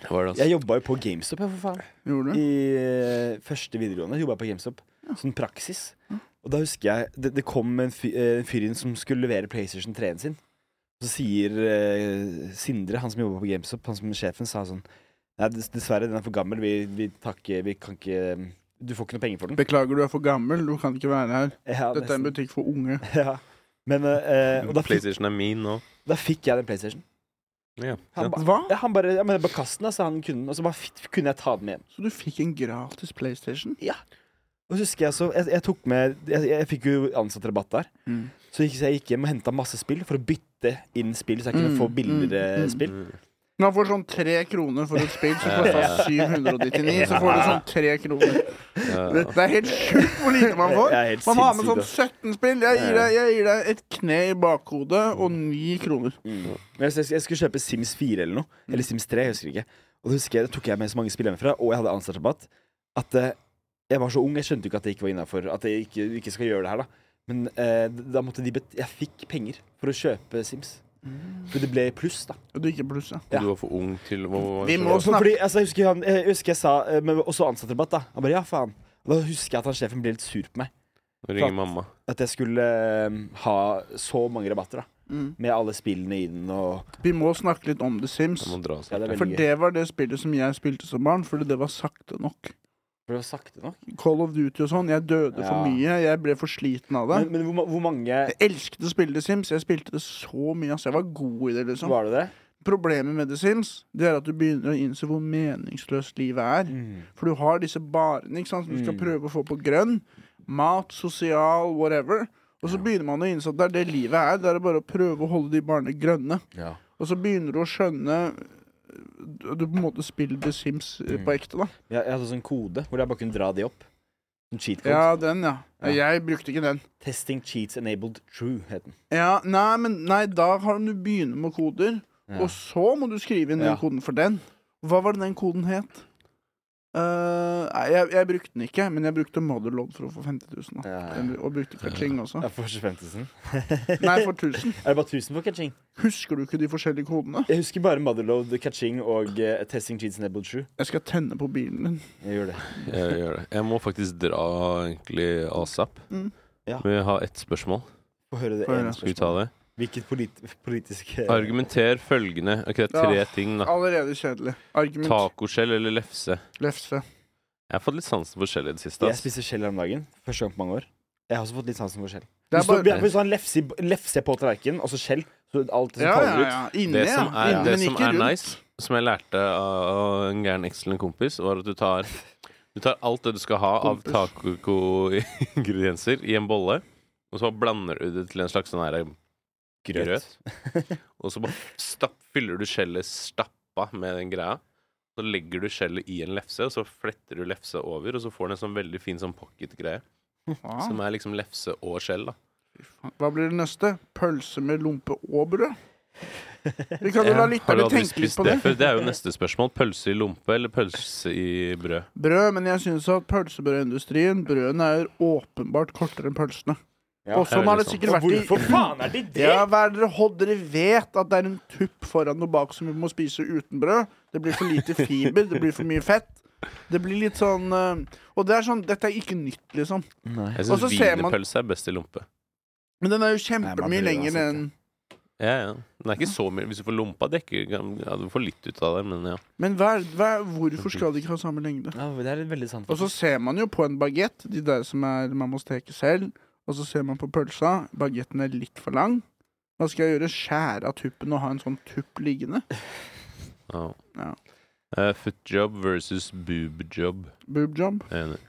Speaker 3: Var det, altså.
Speaker 4: Jeg jobba jo på GameStop, jeg, for faen.
Speaker 1: Gjorde du?
Speaker 4: I eh, første videregående jobba jeg på GameStop. Sånn praksis. Og da husker jeg det, det kom en, fy, eh, en fyr inn som skulle levere PlayStation 3-en sin. Så sier eh, Sindre, han som jobba på GameStop, han som sjefen, sa sånn Nei, dess- dessverre, den er for gammel. Vi, vi, takker, vi kan ikke Du får ikke noe penger for den.
Speaker 1: Beklager, du er for gammel. Du kan ikke være her.
Speaker 4: Ja,
Speaker 1: Dette er en
Speaker 4: nesten.
Speaker 1: butikk for unge.
Speaker 4: Ja. Men eh, og da, fikk,
Speaker 3: PlayStation er min nå.
Speaker 4: da fikk jeg den PlayStation.
Speaker 3: Ja.
Speaker 4: Han, ba,
Speaker 1: Hva?
Speaker 4: ja, han bare ja, men bare kast den, da, sa han kunden. Og så bare fit, kunne jeg ta den med hjem.
Speaker 1: Så du fikk en gratis PlayStation?
Speaker 4: Og så husker jeg så Jeg, jeg tok med Jeg, jeg fikk jo ansatt rabatt der.
Speaker 1: Mm.
Speaker 4: Så gikk, så jeg gikk hjem og henta masse spill for å bytte inn spill, så jeg kunne
Speaker 1: Mm,
Speaker 4: få billigere
Speaker 1: mm, mm.
Speaker 4: spill.
Speaker 3: Mm.
Speaker 1: Når han får sånn tre kroner for et spill som
Speaker 3: Ja.
Speaker 1: koster 799, så får du sånn tre kroner.
Speaker 3: Ja.
Speaker 1: Det er helt sjukt hvor lite man får.
Speaker 4: Jeg er helt
Speaker 1: Man har med
Speaker 4: sinnssyk,
Speaker 1: sånn
Speaker 4: ass.
Speaker 1: 17 spill. Jeg gir deg, jeg gir deg et kne i bakhodet og ni kroner.
Speaker 4: Men jeg, jeg skulle kjøpe Sims 4 eller noe. Eller Sims 3, jeg husker ikke. Og da husker jeg, da tok jeg med så mange spill hjemmefra, og jeg hadde ansattrabatt, at eh, jeg var så ung, jeg skjønte jo ikke at det ikke var innafor. At jeg ikke, ikke skal gjøre det her, da. Men eh, da måtte de bet... Jeg fikk penger for å kjøpe Sims.
Speaker 1: Mm.
Speaker 4: For det ble pluss, da.
Speaker 1: Og det gikk i pluss, ja.
Speaker 3: Du var for ung til å
Speaker 1: Vi må
Speaker 4: For,
Speaker 1: snakke
Speaker 4: fordi, altså, jeg, husker han, jeg husker jeg sa eh, Men også ansattrabatt, da. Han bare ja, faen. Og da husker jeg at han sjefen ble litt sur på meg.
Speaker 3: ringe mamma.
Speaker 4: At jeg skulle eh, ha så mange rabatter, da.
Speaker 1: Mm.
Speaker 4: Med alle spillene i den og
Speaker 1: Vi må snakke litt om The Sims.
Speaker 3: Jeg må dra altså.
Speaker 4: Ja, det er
Speaker 3: snart.
Speaker 4: veldig
Speaker 1: For
Speaker 4: gøy.
Speaker 1: det var det spillet som jeg spilte som barn, fordi det var sakte nok.
Speaker 4: For det var sakte nok.
Speaker 1: Call of Duty og sånn. Jeg døde for
Speaker 4: Ja.
Speaker 1: mye. Jeg ble for sliten av det.
Speaker 4: Men, men hvor, ma- hvor mange
Speaker 1: Jeg elsket å spille The Sims. Jeg spilte det så mye. Altså. Jeg var god i det, liksom.
Speaker 4: var det det?
Speaker 1: Problemet med The Sims Det er at du begynner å innse hvor meningsløst livet er. For du har disse barene ikke sant, som du skal
Speaker 4: Mm.
Speaker 1: prøve å få på grønn. Mat, sosial, whatever. Og så begynner man å innse at det er det livet er. Det er bare å prøve å holde de barna grønne.
Speaker 4: Ja.
Speaker 1: Og så begynner du å skjønne øh, Du du på en måte spiller The Sims eh,
Speaker 4: Mm.
Speaker 1: på ekte, da.
Speaker 4: Jeg, jeg hadde sånn kode hvor jeg bare kunne dra de opp. Sånn cheat code.
Speaker 1: Ja, den, ja. Jeg brukte ikke den.
Speaker 4: Testing cheats enabled true, het den.
Speaker 1: Ja, nei, men nei, da har du begynner med koder,
Speaker 4: Ja.
Speaker 1: og så må du skrive inn den
Speaker 4: Ja.
Speaker 1: koden for den. Hva var det den koden het? Eh, nei, jeg, jeg brukte den ikke, men jeg brukte Motherlod for å få 50 000. Da.
Speaker 4: Ja.
Speaker 1: Den- Og brukte Kaching også.
Speaker 4: Ja, for 25 000.
Speaker 1: Nei, for 1000.
Speaker 4: Er det bare 1000 for catching?
Speaker 1: Husker du ikke de forskjellige kodene?
Speaker 4: Jeg husker bare Motherload, catching og eh, testing cheats enabled true.
Speaker 1: Jeg skal tenne på bilen din.
Speaker 4: Jeg gjør det.
Speaker 3: Jeg gjør det. Jeg må faktisk dra egentlig asap.
Speaker 1: Mm.
Speaker 4: Ja.
Speaker 3: Men jeg har ett spørsmål.
Speaker 4: Få høre det
Speaker 1: Få høre.
Speaker 4: ene
Speaker 3: Skal vi ta
Speaker 4: spørsmålet.
Speaker 3: det?
Speaker 4: Hvilket polit politisk eh,
Speaker 3: Argumenter følgende. Ok, det er tre
Speaker 1: Ja.
Speaker 3: ting, da.
Speaker 1: Allerede kjedelig. Argument.
Speaker 3: Tacoskjell eller lefse?
Speaker 1: Lefse.
Speaker 3: Jeg har fått litt sansen for skjell i det siste. altså.
Speaker 4: Jeg
Speaker 3: ass.
Speaker 4: spiser skjell her om dagen. Første gang på mange år. Jeg har også fått litt sansen for skjell.
Speaker 1: Det
Speaker 4: Hvis
Speaker 1: er
Speaker 4: du,
Speaker 1: bare
Speaker 4: hvis du har en lefse, i- lefse på tallerkenen, og så skjell, så alt det som
Speaker 1: Ja, ja,
Speaker 4: faller ut
Speaker 1: ja. Inne,
Speaker 3: Det
Speaker 1: ja.
Speaker 3: som er,
Speaker 1: Inne,
Speaker 3: det
Speaker 1: men
Speaker 3: som
Speaker 1: ikke
Speaker 3: er
Speaker 1: rundt.
Speaker 3: nice, som jeg lærte av en gæren excellent kompis, var at du tar Du tar alt det du skal ha av
Speaker 1: Kompis.
Speaker 3: taco-ingredienser i en bolle, og så blander du det til en slags sånn her grøt. Og så bare stapp, fyller du skjellet stappa med den greia. Så legger du skjellet i en lefse, og så fletter du lefsa over, og så får den en sånn veldig fin sånn pocket-greie.
Speaker 1: Ah,
Speaker 3: Som er liksom lefse og skjell, da.
Speaker 1: Hva blir det neste? Pølse med lompe og brød? Vi kan jo la
Speaker 3: har du
Speaker 1: lytterne
Speaker 3: aldri
Speaker 1: tenke litt
Speaker 3: spist
Speaker 1: på
Speaker 3: det
Speaker 1: det.
Speaker 3: før? Det er jo neste spørsmål. Pølse i lompe eller pølse i brød?
Speaker 1: brød, men jeg synes at pølsebrødindustrien Brødene er åpenbart kortere enn pølsene.
Speaker 4: Ja,
Speaker 1: og sånn
Speaker 3: det er
Speaker 1: har det
Speaker 3: litt
Speaker 1: sikkert vært i
Speaker 5: Hvorfor faen er de det?
Speaker 1: ja, hva er det dere hold- Dere vet at det er en tupp foran og bak som vi må spise uten brød. Det blir for lite fiber, det blir for mye fett. Det blir litt sånn eh, Og det er sånn, dette er ikke nytt, liksom.
Speaker 4: Nei.
Speaker 3: Jeg
Speaker 1: Og
Speaker 3: syns
Speaker 1: så ser man-
Speaker 3: wienerpølse er best i lompe.
Speaker 1: Men den er jo
Speaker 4: Nei, man
Speaker 1: kjempemye
Speaker 4: blir
Speaker 1: lenger
Speaker 4: uansett,
Speaker 1: enn
Speaker 3: Ja, ja. Den er ikke så mye Hvis du får lompa, dekker ja, Du får litt ut av det, men ja.
Speaker 1: Men hva, er- hva, er- hvorfor skal de ikke ha samme lengde?
Speaker 4: Ja, det er veldig sant.
Speaker 1: Og så ser man jo på en bagett, de der som er man må steke selv. Og så ser man på pølsa. Bagetten er litt for lang. Hva skal jeg gjøre? Skjære av tuppen og ha en sånn tupp liggende?
Speaker 3: ja.
Speaker 1: Ja.
Speaker 3: Eh, footjob versus boobjob.
Speaker 1: Boob job.
Speaker 3: Jeg er Enig.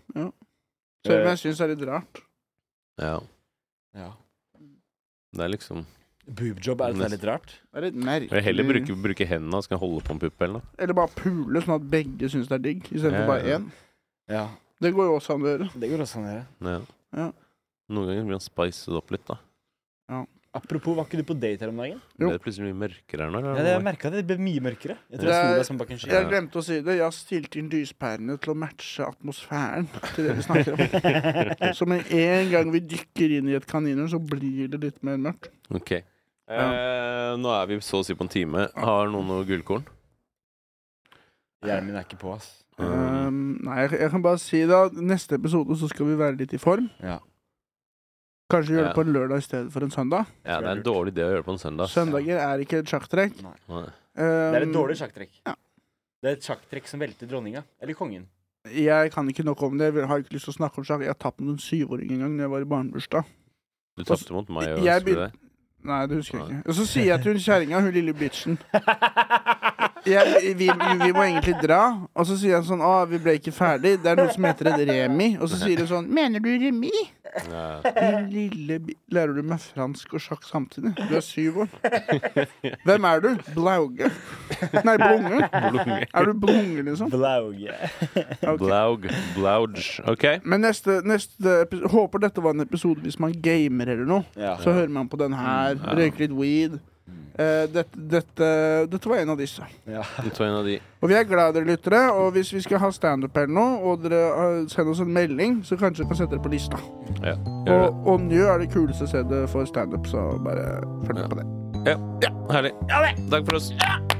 Speaker 1: Selv om
Speaker 4: Eh.
Speaker 1: jeg syns det er litt rart.
Speaker 3: Ja.
Speaker 4: Ja.
Speaker 3: Det er liksom
Speaker 4: Boobjob, er det litt rart?
Speaker 1: Det er litt
Speaker 3: Jeg vil heller
Speaker 1: merkelig.
Speaker 3: bruke, bruke hendene og skal holde på en pupp eller noe.
Speaker 1: Eller bare pule, sånn at begge syns det er digg, istedenfor
Speaker 3: Ja,
Speaker 1: bare
Speaker 3: ja.
Speaker 1: én.
Speaker 4: Ja,
Speaker 1: Det går jo også an å gjøre.
Speaker 4: det går også an å gjøre.
Speaker 3: Ja.
Speaker 1: Ja.
Speaker 3: Noen ganger blir han spicet opp litt, da.
Speaker 4: Apropos, var ikke du på date her om dagen?
Speaker 1: Jo.
Speaker 3: Ble det plutselig mye mørkere her nå?
Speaker 4: Ja,
Speaker 3: eller?
Speaker 4: det, jeg merka det. Det ble mye mørkere. Jeg tror
Speaker 1: Det
Speaker 4: jeg
Speaker 1: er-
Speaker 4: så deg som bak en sky.
Speaker 1: Jeg glemte å si det. Jeg har stilt inn lyspærene til å matche atmosfæren til det vi snakker om. Så med en gang vi dykker inn i et kaninhull, så blir det litt mer mørkt.
Speaker 3: Ok. Eh, nå er vi så å si på en time. Har noen noe gullkorn?
Speaker 4: Hjernen min er ikke på, ass.
Speaker 1: Eh,
Speaker 3: Um,
Speaker 1: Um, nei, jeg, jeg kan bare si da neste episode så skal vi være litt i form.
Speaker 4: Ja.
Speaker 1: Kanskje gjøre
Speaker 3: Ja.
Speaker 1: det på en lørdag i stedet for en søndag.
Speaker 3: Ja, det er en dårlig idé å gjøre på en søndag.
Speaker 1: Søndager er ikke et sjakktrekk. Um,
Speaker 3: Nei.
Speaker 5: Det er et dårlig sjakktrekk.
Speaker 1: Ja.
Speaker 5: Det er et sjakktrekk som velter dronninga. Eller kongen.
Speaker 1: Jeg kan ikke noe om det. Jeg har ikke lyst til å snakke om sjakk. Jeg har tapt mot en syvåring en gang da jeg var i barnebursdag.
Speaker 3: Du tapte mot meg. Og
Speaker 1: Jeg
Speaker 3: jeg det.
Speaker 1: Nei, det husker jeg ikke. Og så sier jeg til hun kjerringa, hun lille bitchen jeg, vi, vi må egentlig dra. Og så sier jeg sånn Å, vi ble ikke ferdig. Det er noe som heter et remi. Og så sier hun sånn Mener du remis?
Speaker 3: Ja.
Speaker 1: Din lille bi Lærer du meg fransk og sjakk samtidig? Du er syv år. Hvem er du? Blauge. Nei, Blunge. Er du Blunge, liksom?
Speaker 4: Blauge.
Speaker 1: Ok.
Speaker 3: Blaug. Blauge. OK.
Speaker 1: Men neste, neste episode Håper dette var en episode hvis man gamer eller noe.
Speaker 4: Ja.
Speaker 1: Så hører man på den her. Røyker litt weed. Eh, dette, dette, dette var en av disse.
Speaker 3: Du tar en av de.
Speaker 1: Og vi er glad dere lyttere. Og hvis vi skal ha standup eller noe, og dere eh, sender oss en melding, så kanskje vi kan sette dere på lista.
Speaker 3: Ja. Gjør det.
Speaker 1: Og, og Njø er det kuleste stedet for standup, så bare følg med på det.
Speaker 3: Ja, herlig. Takk for oss.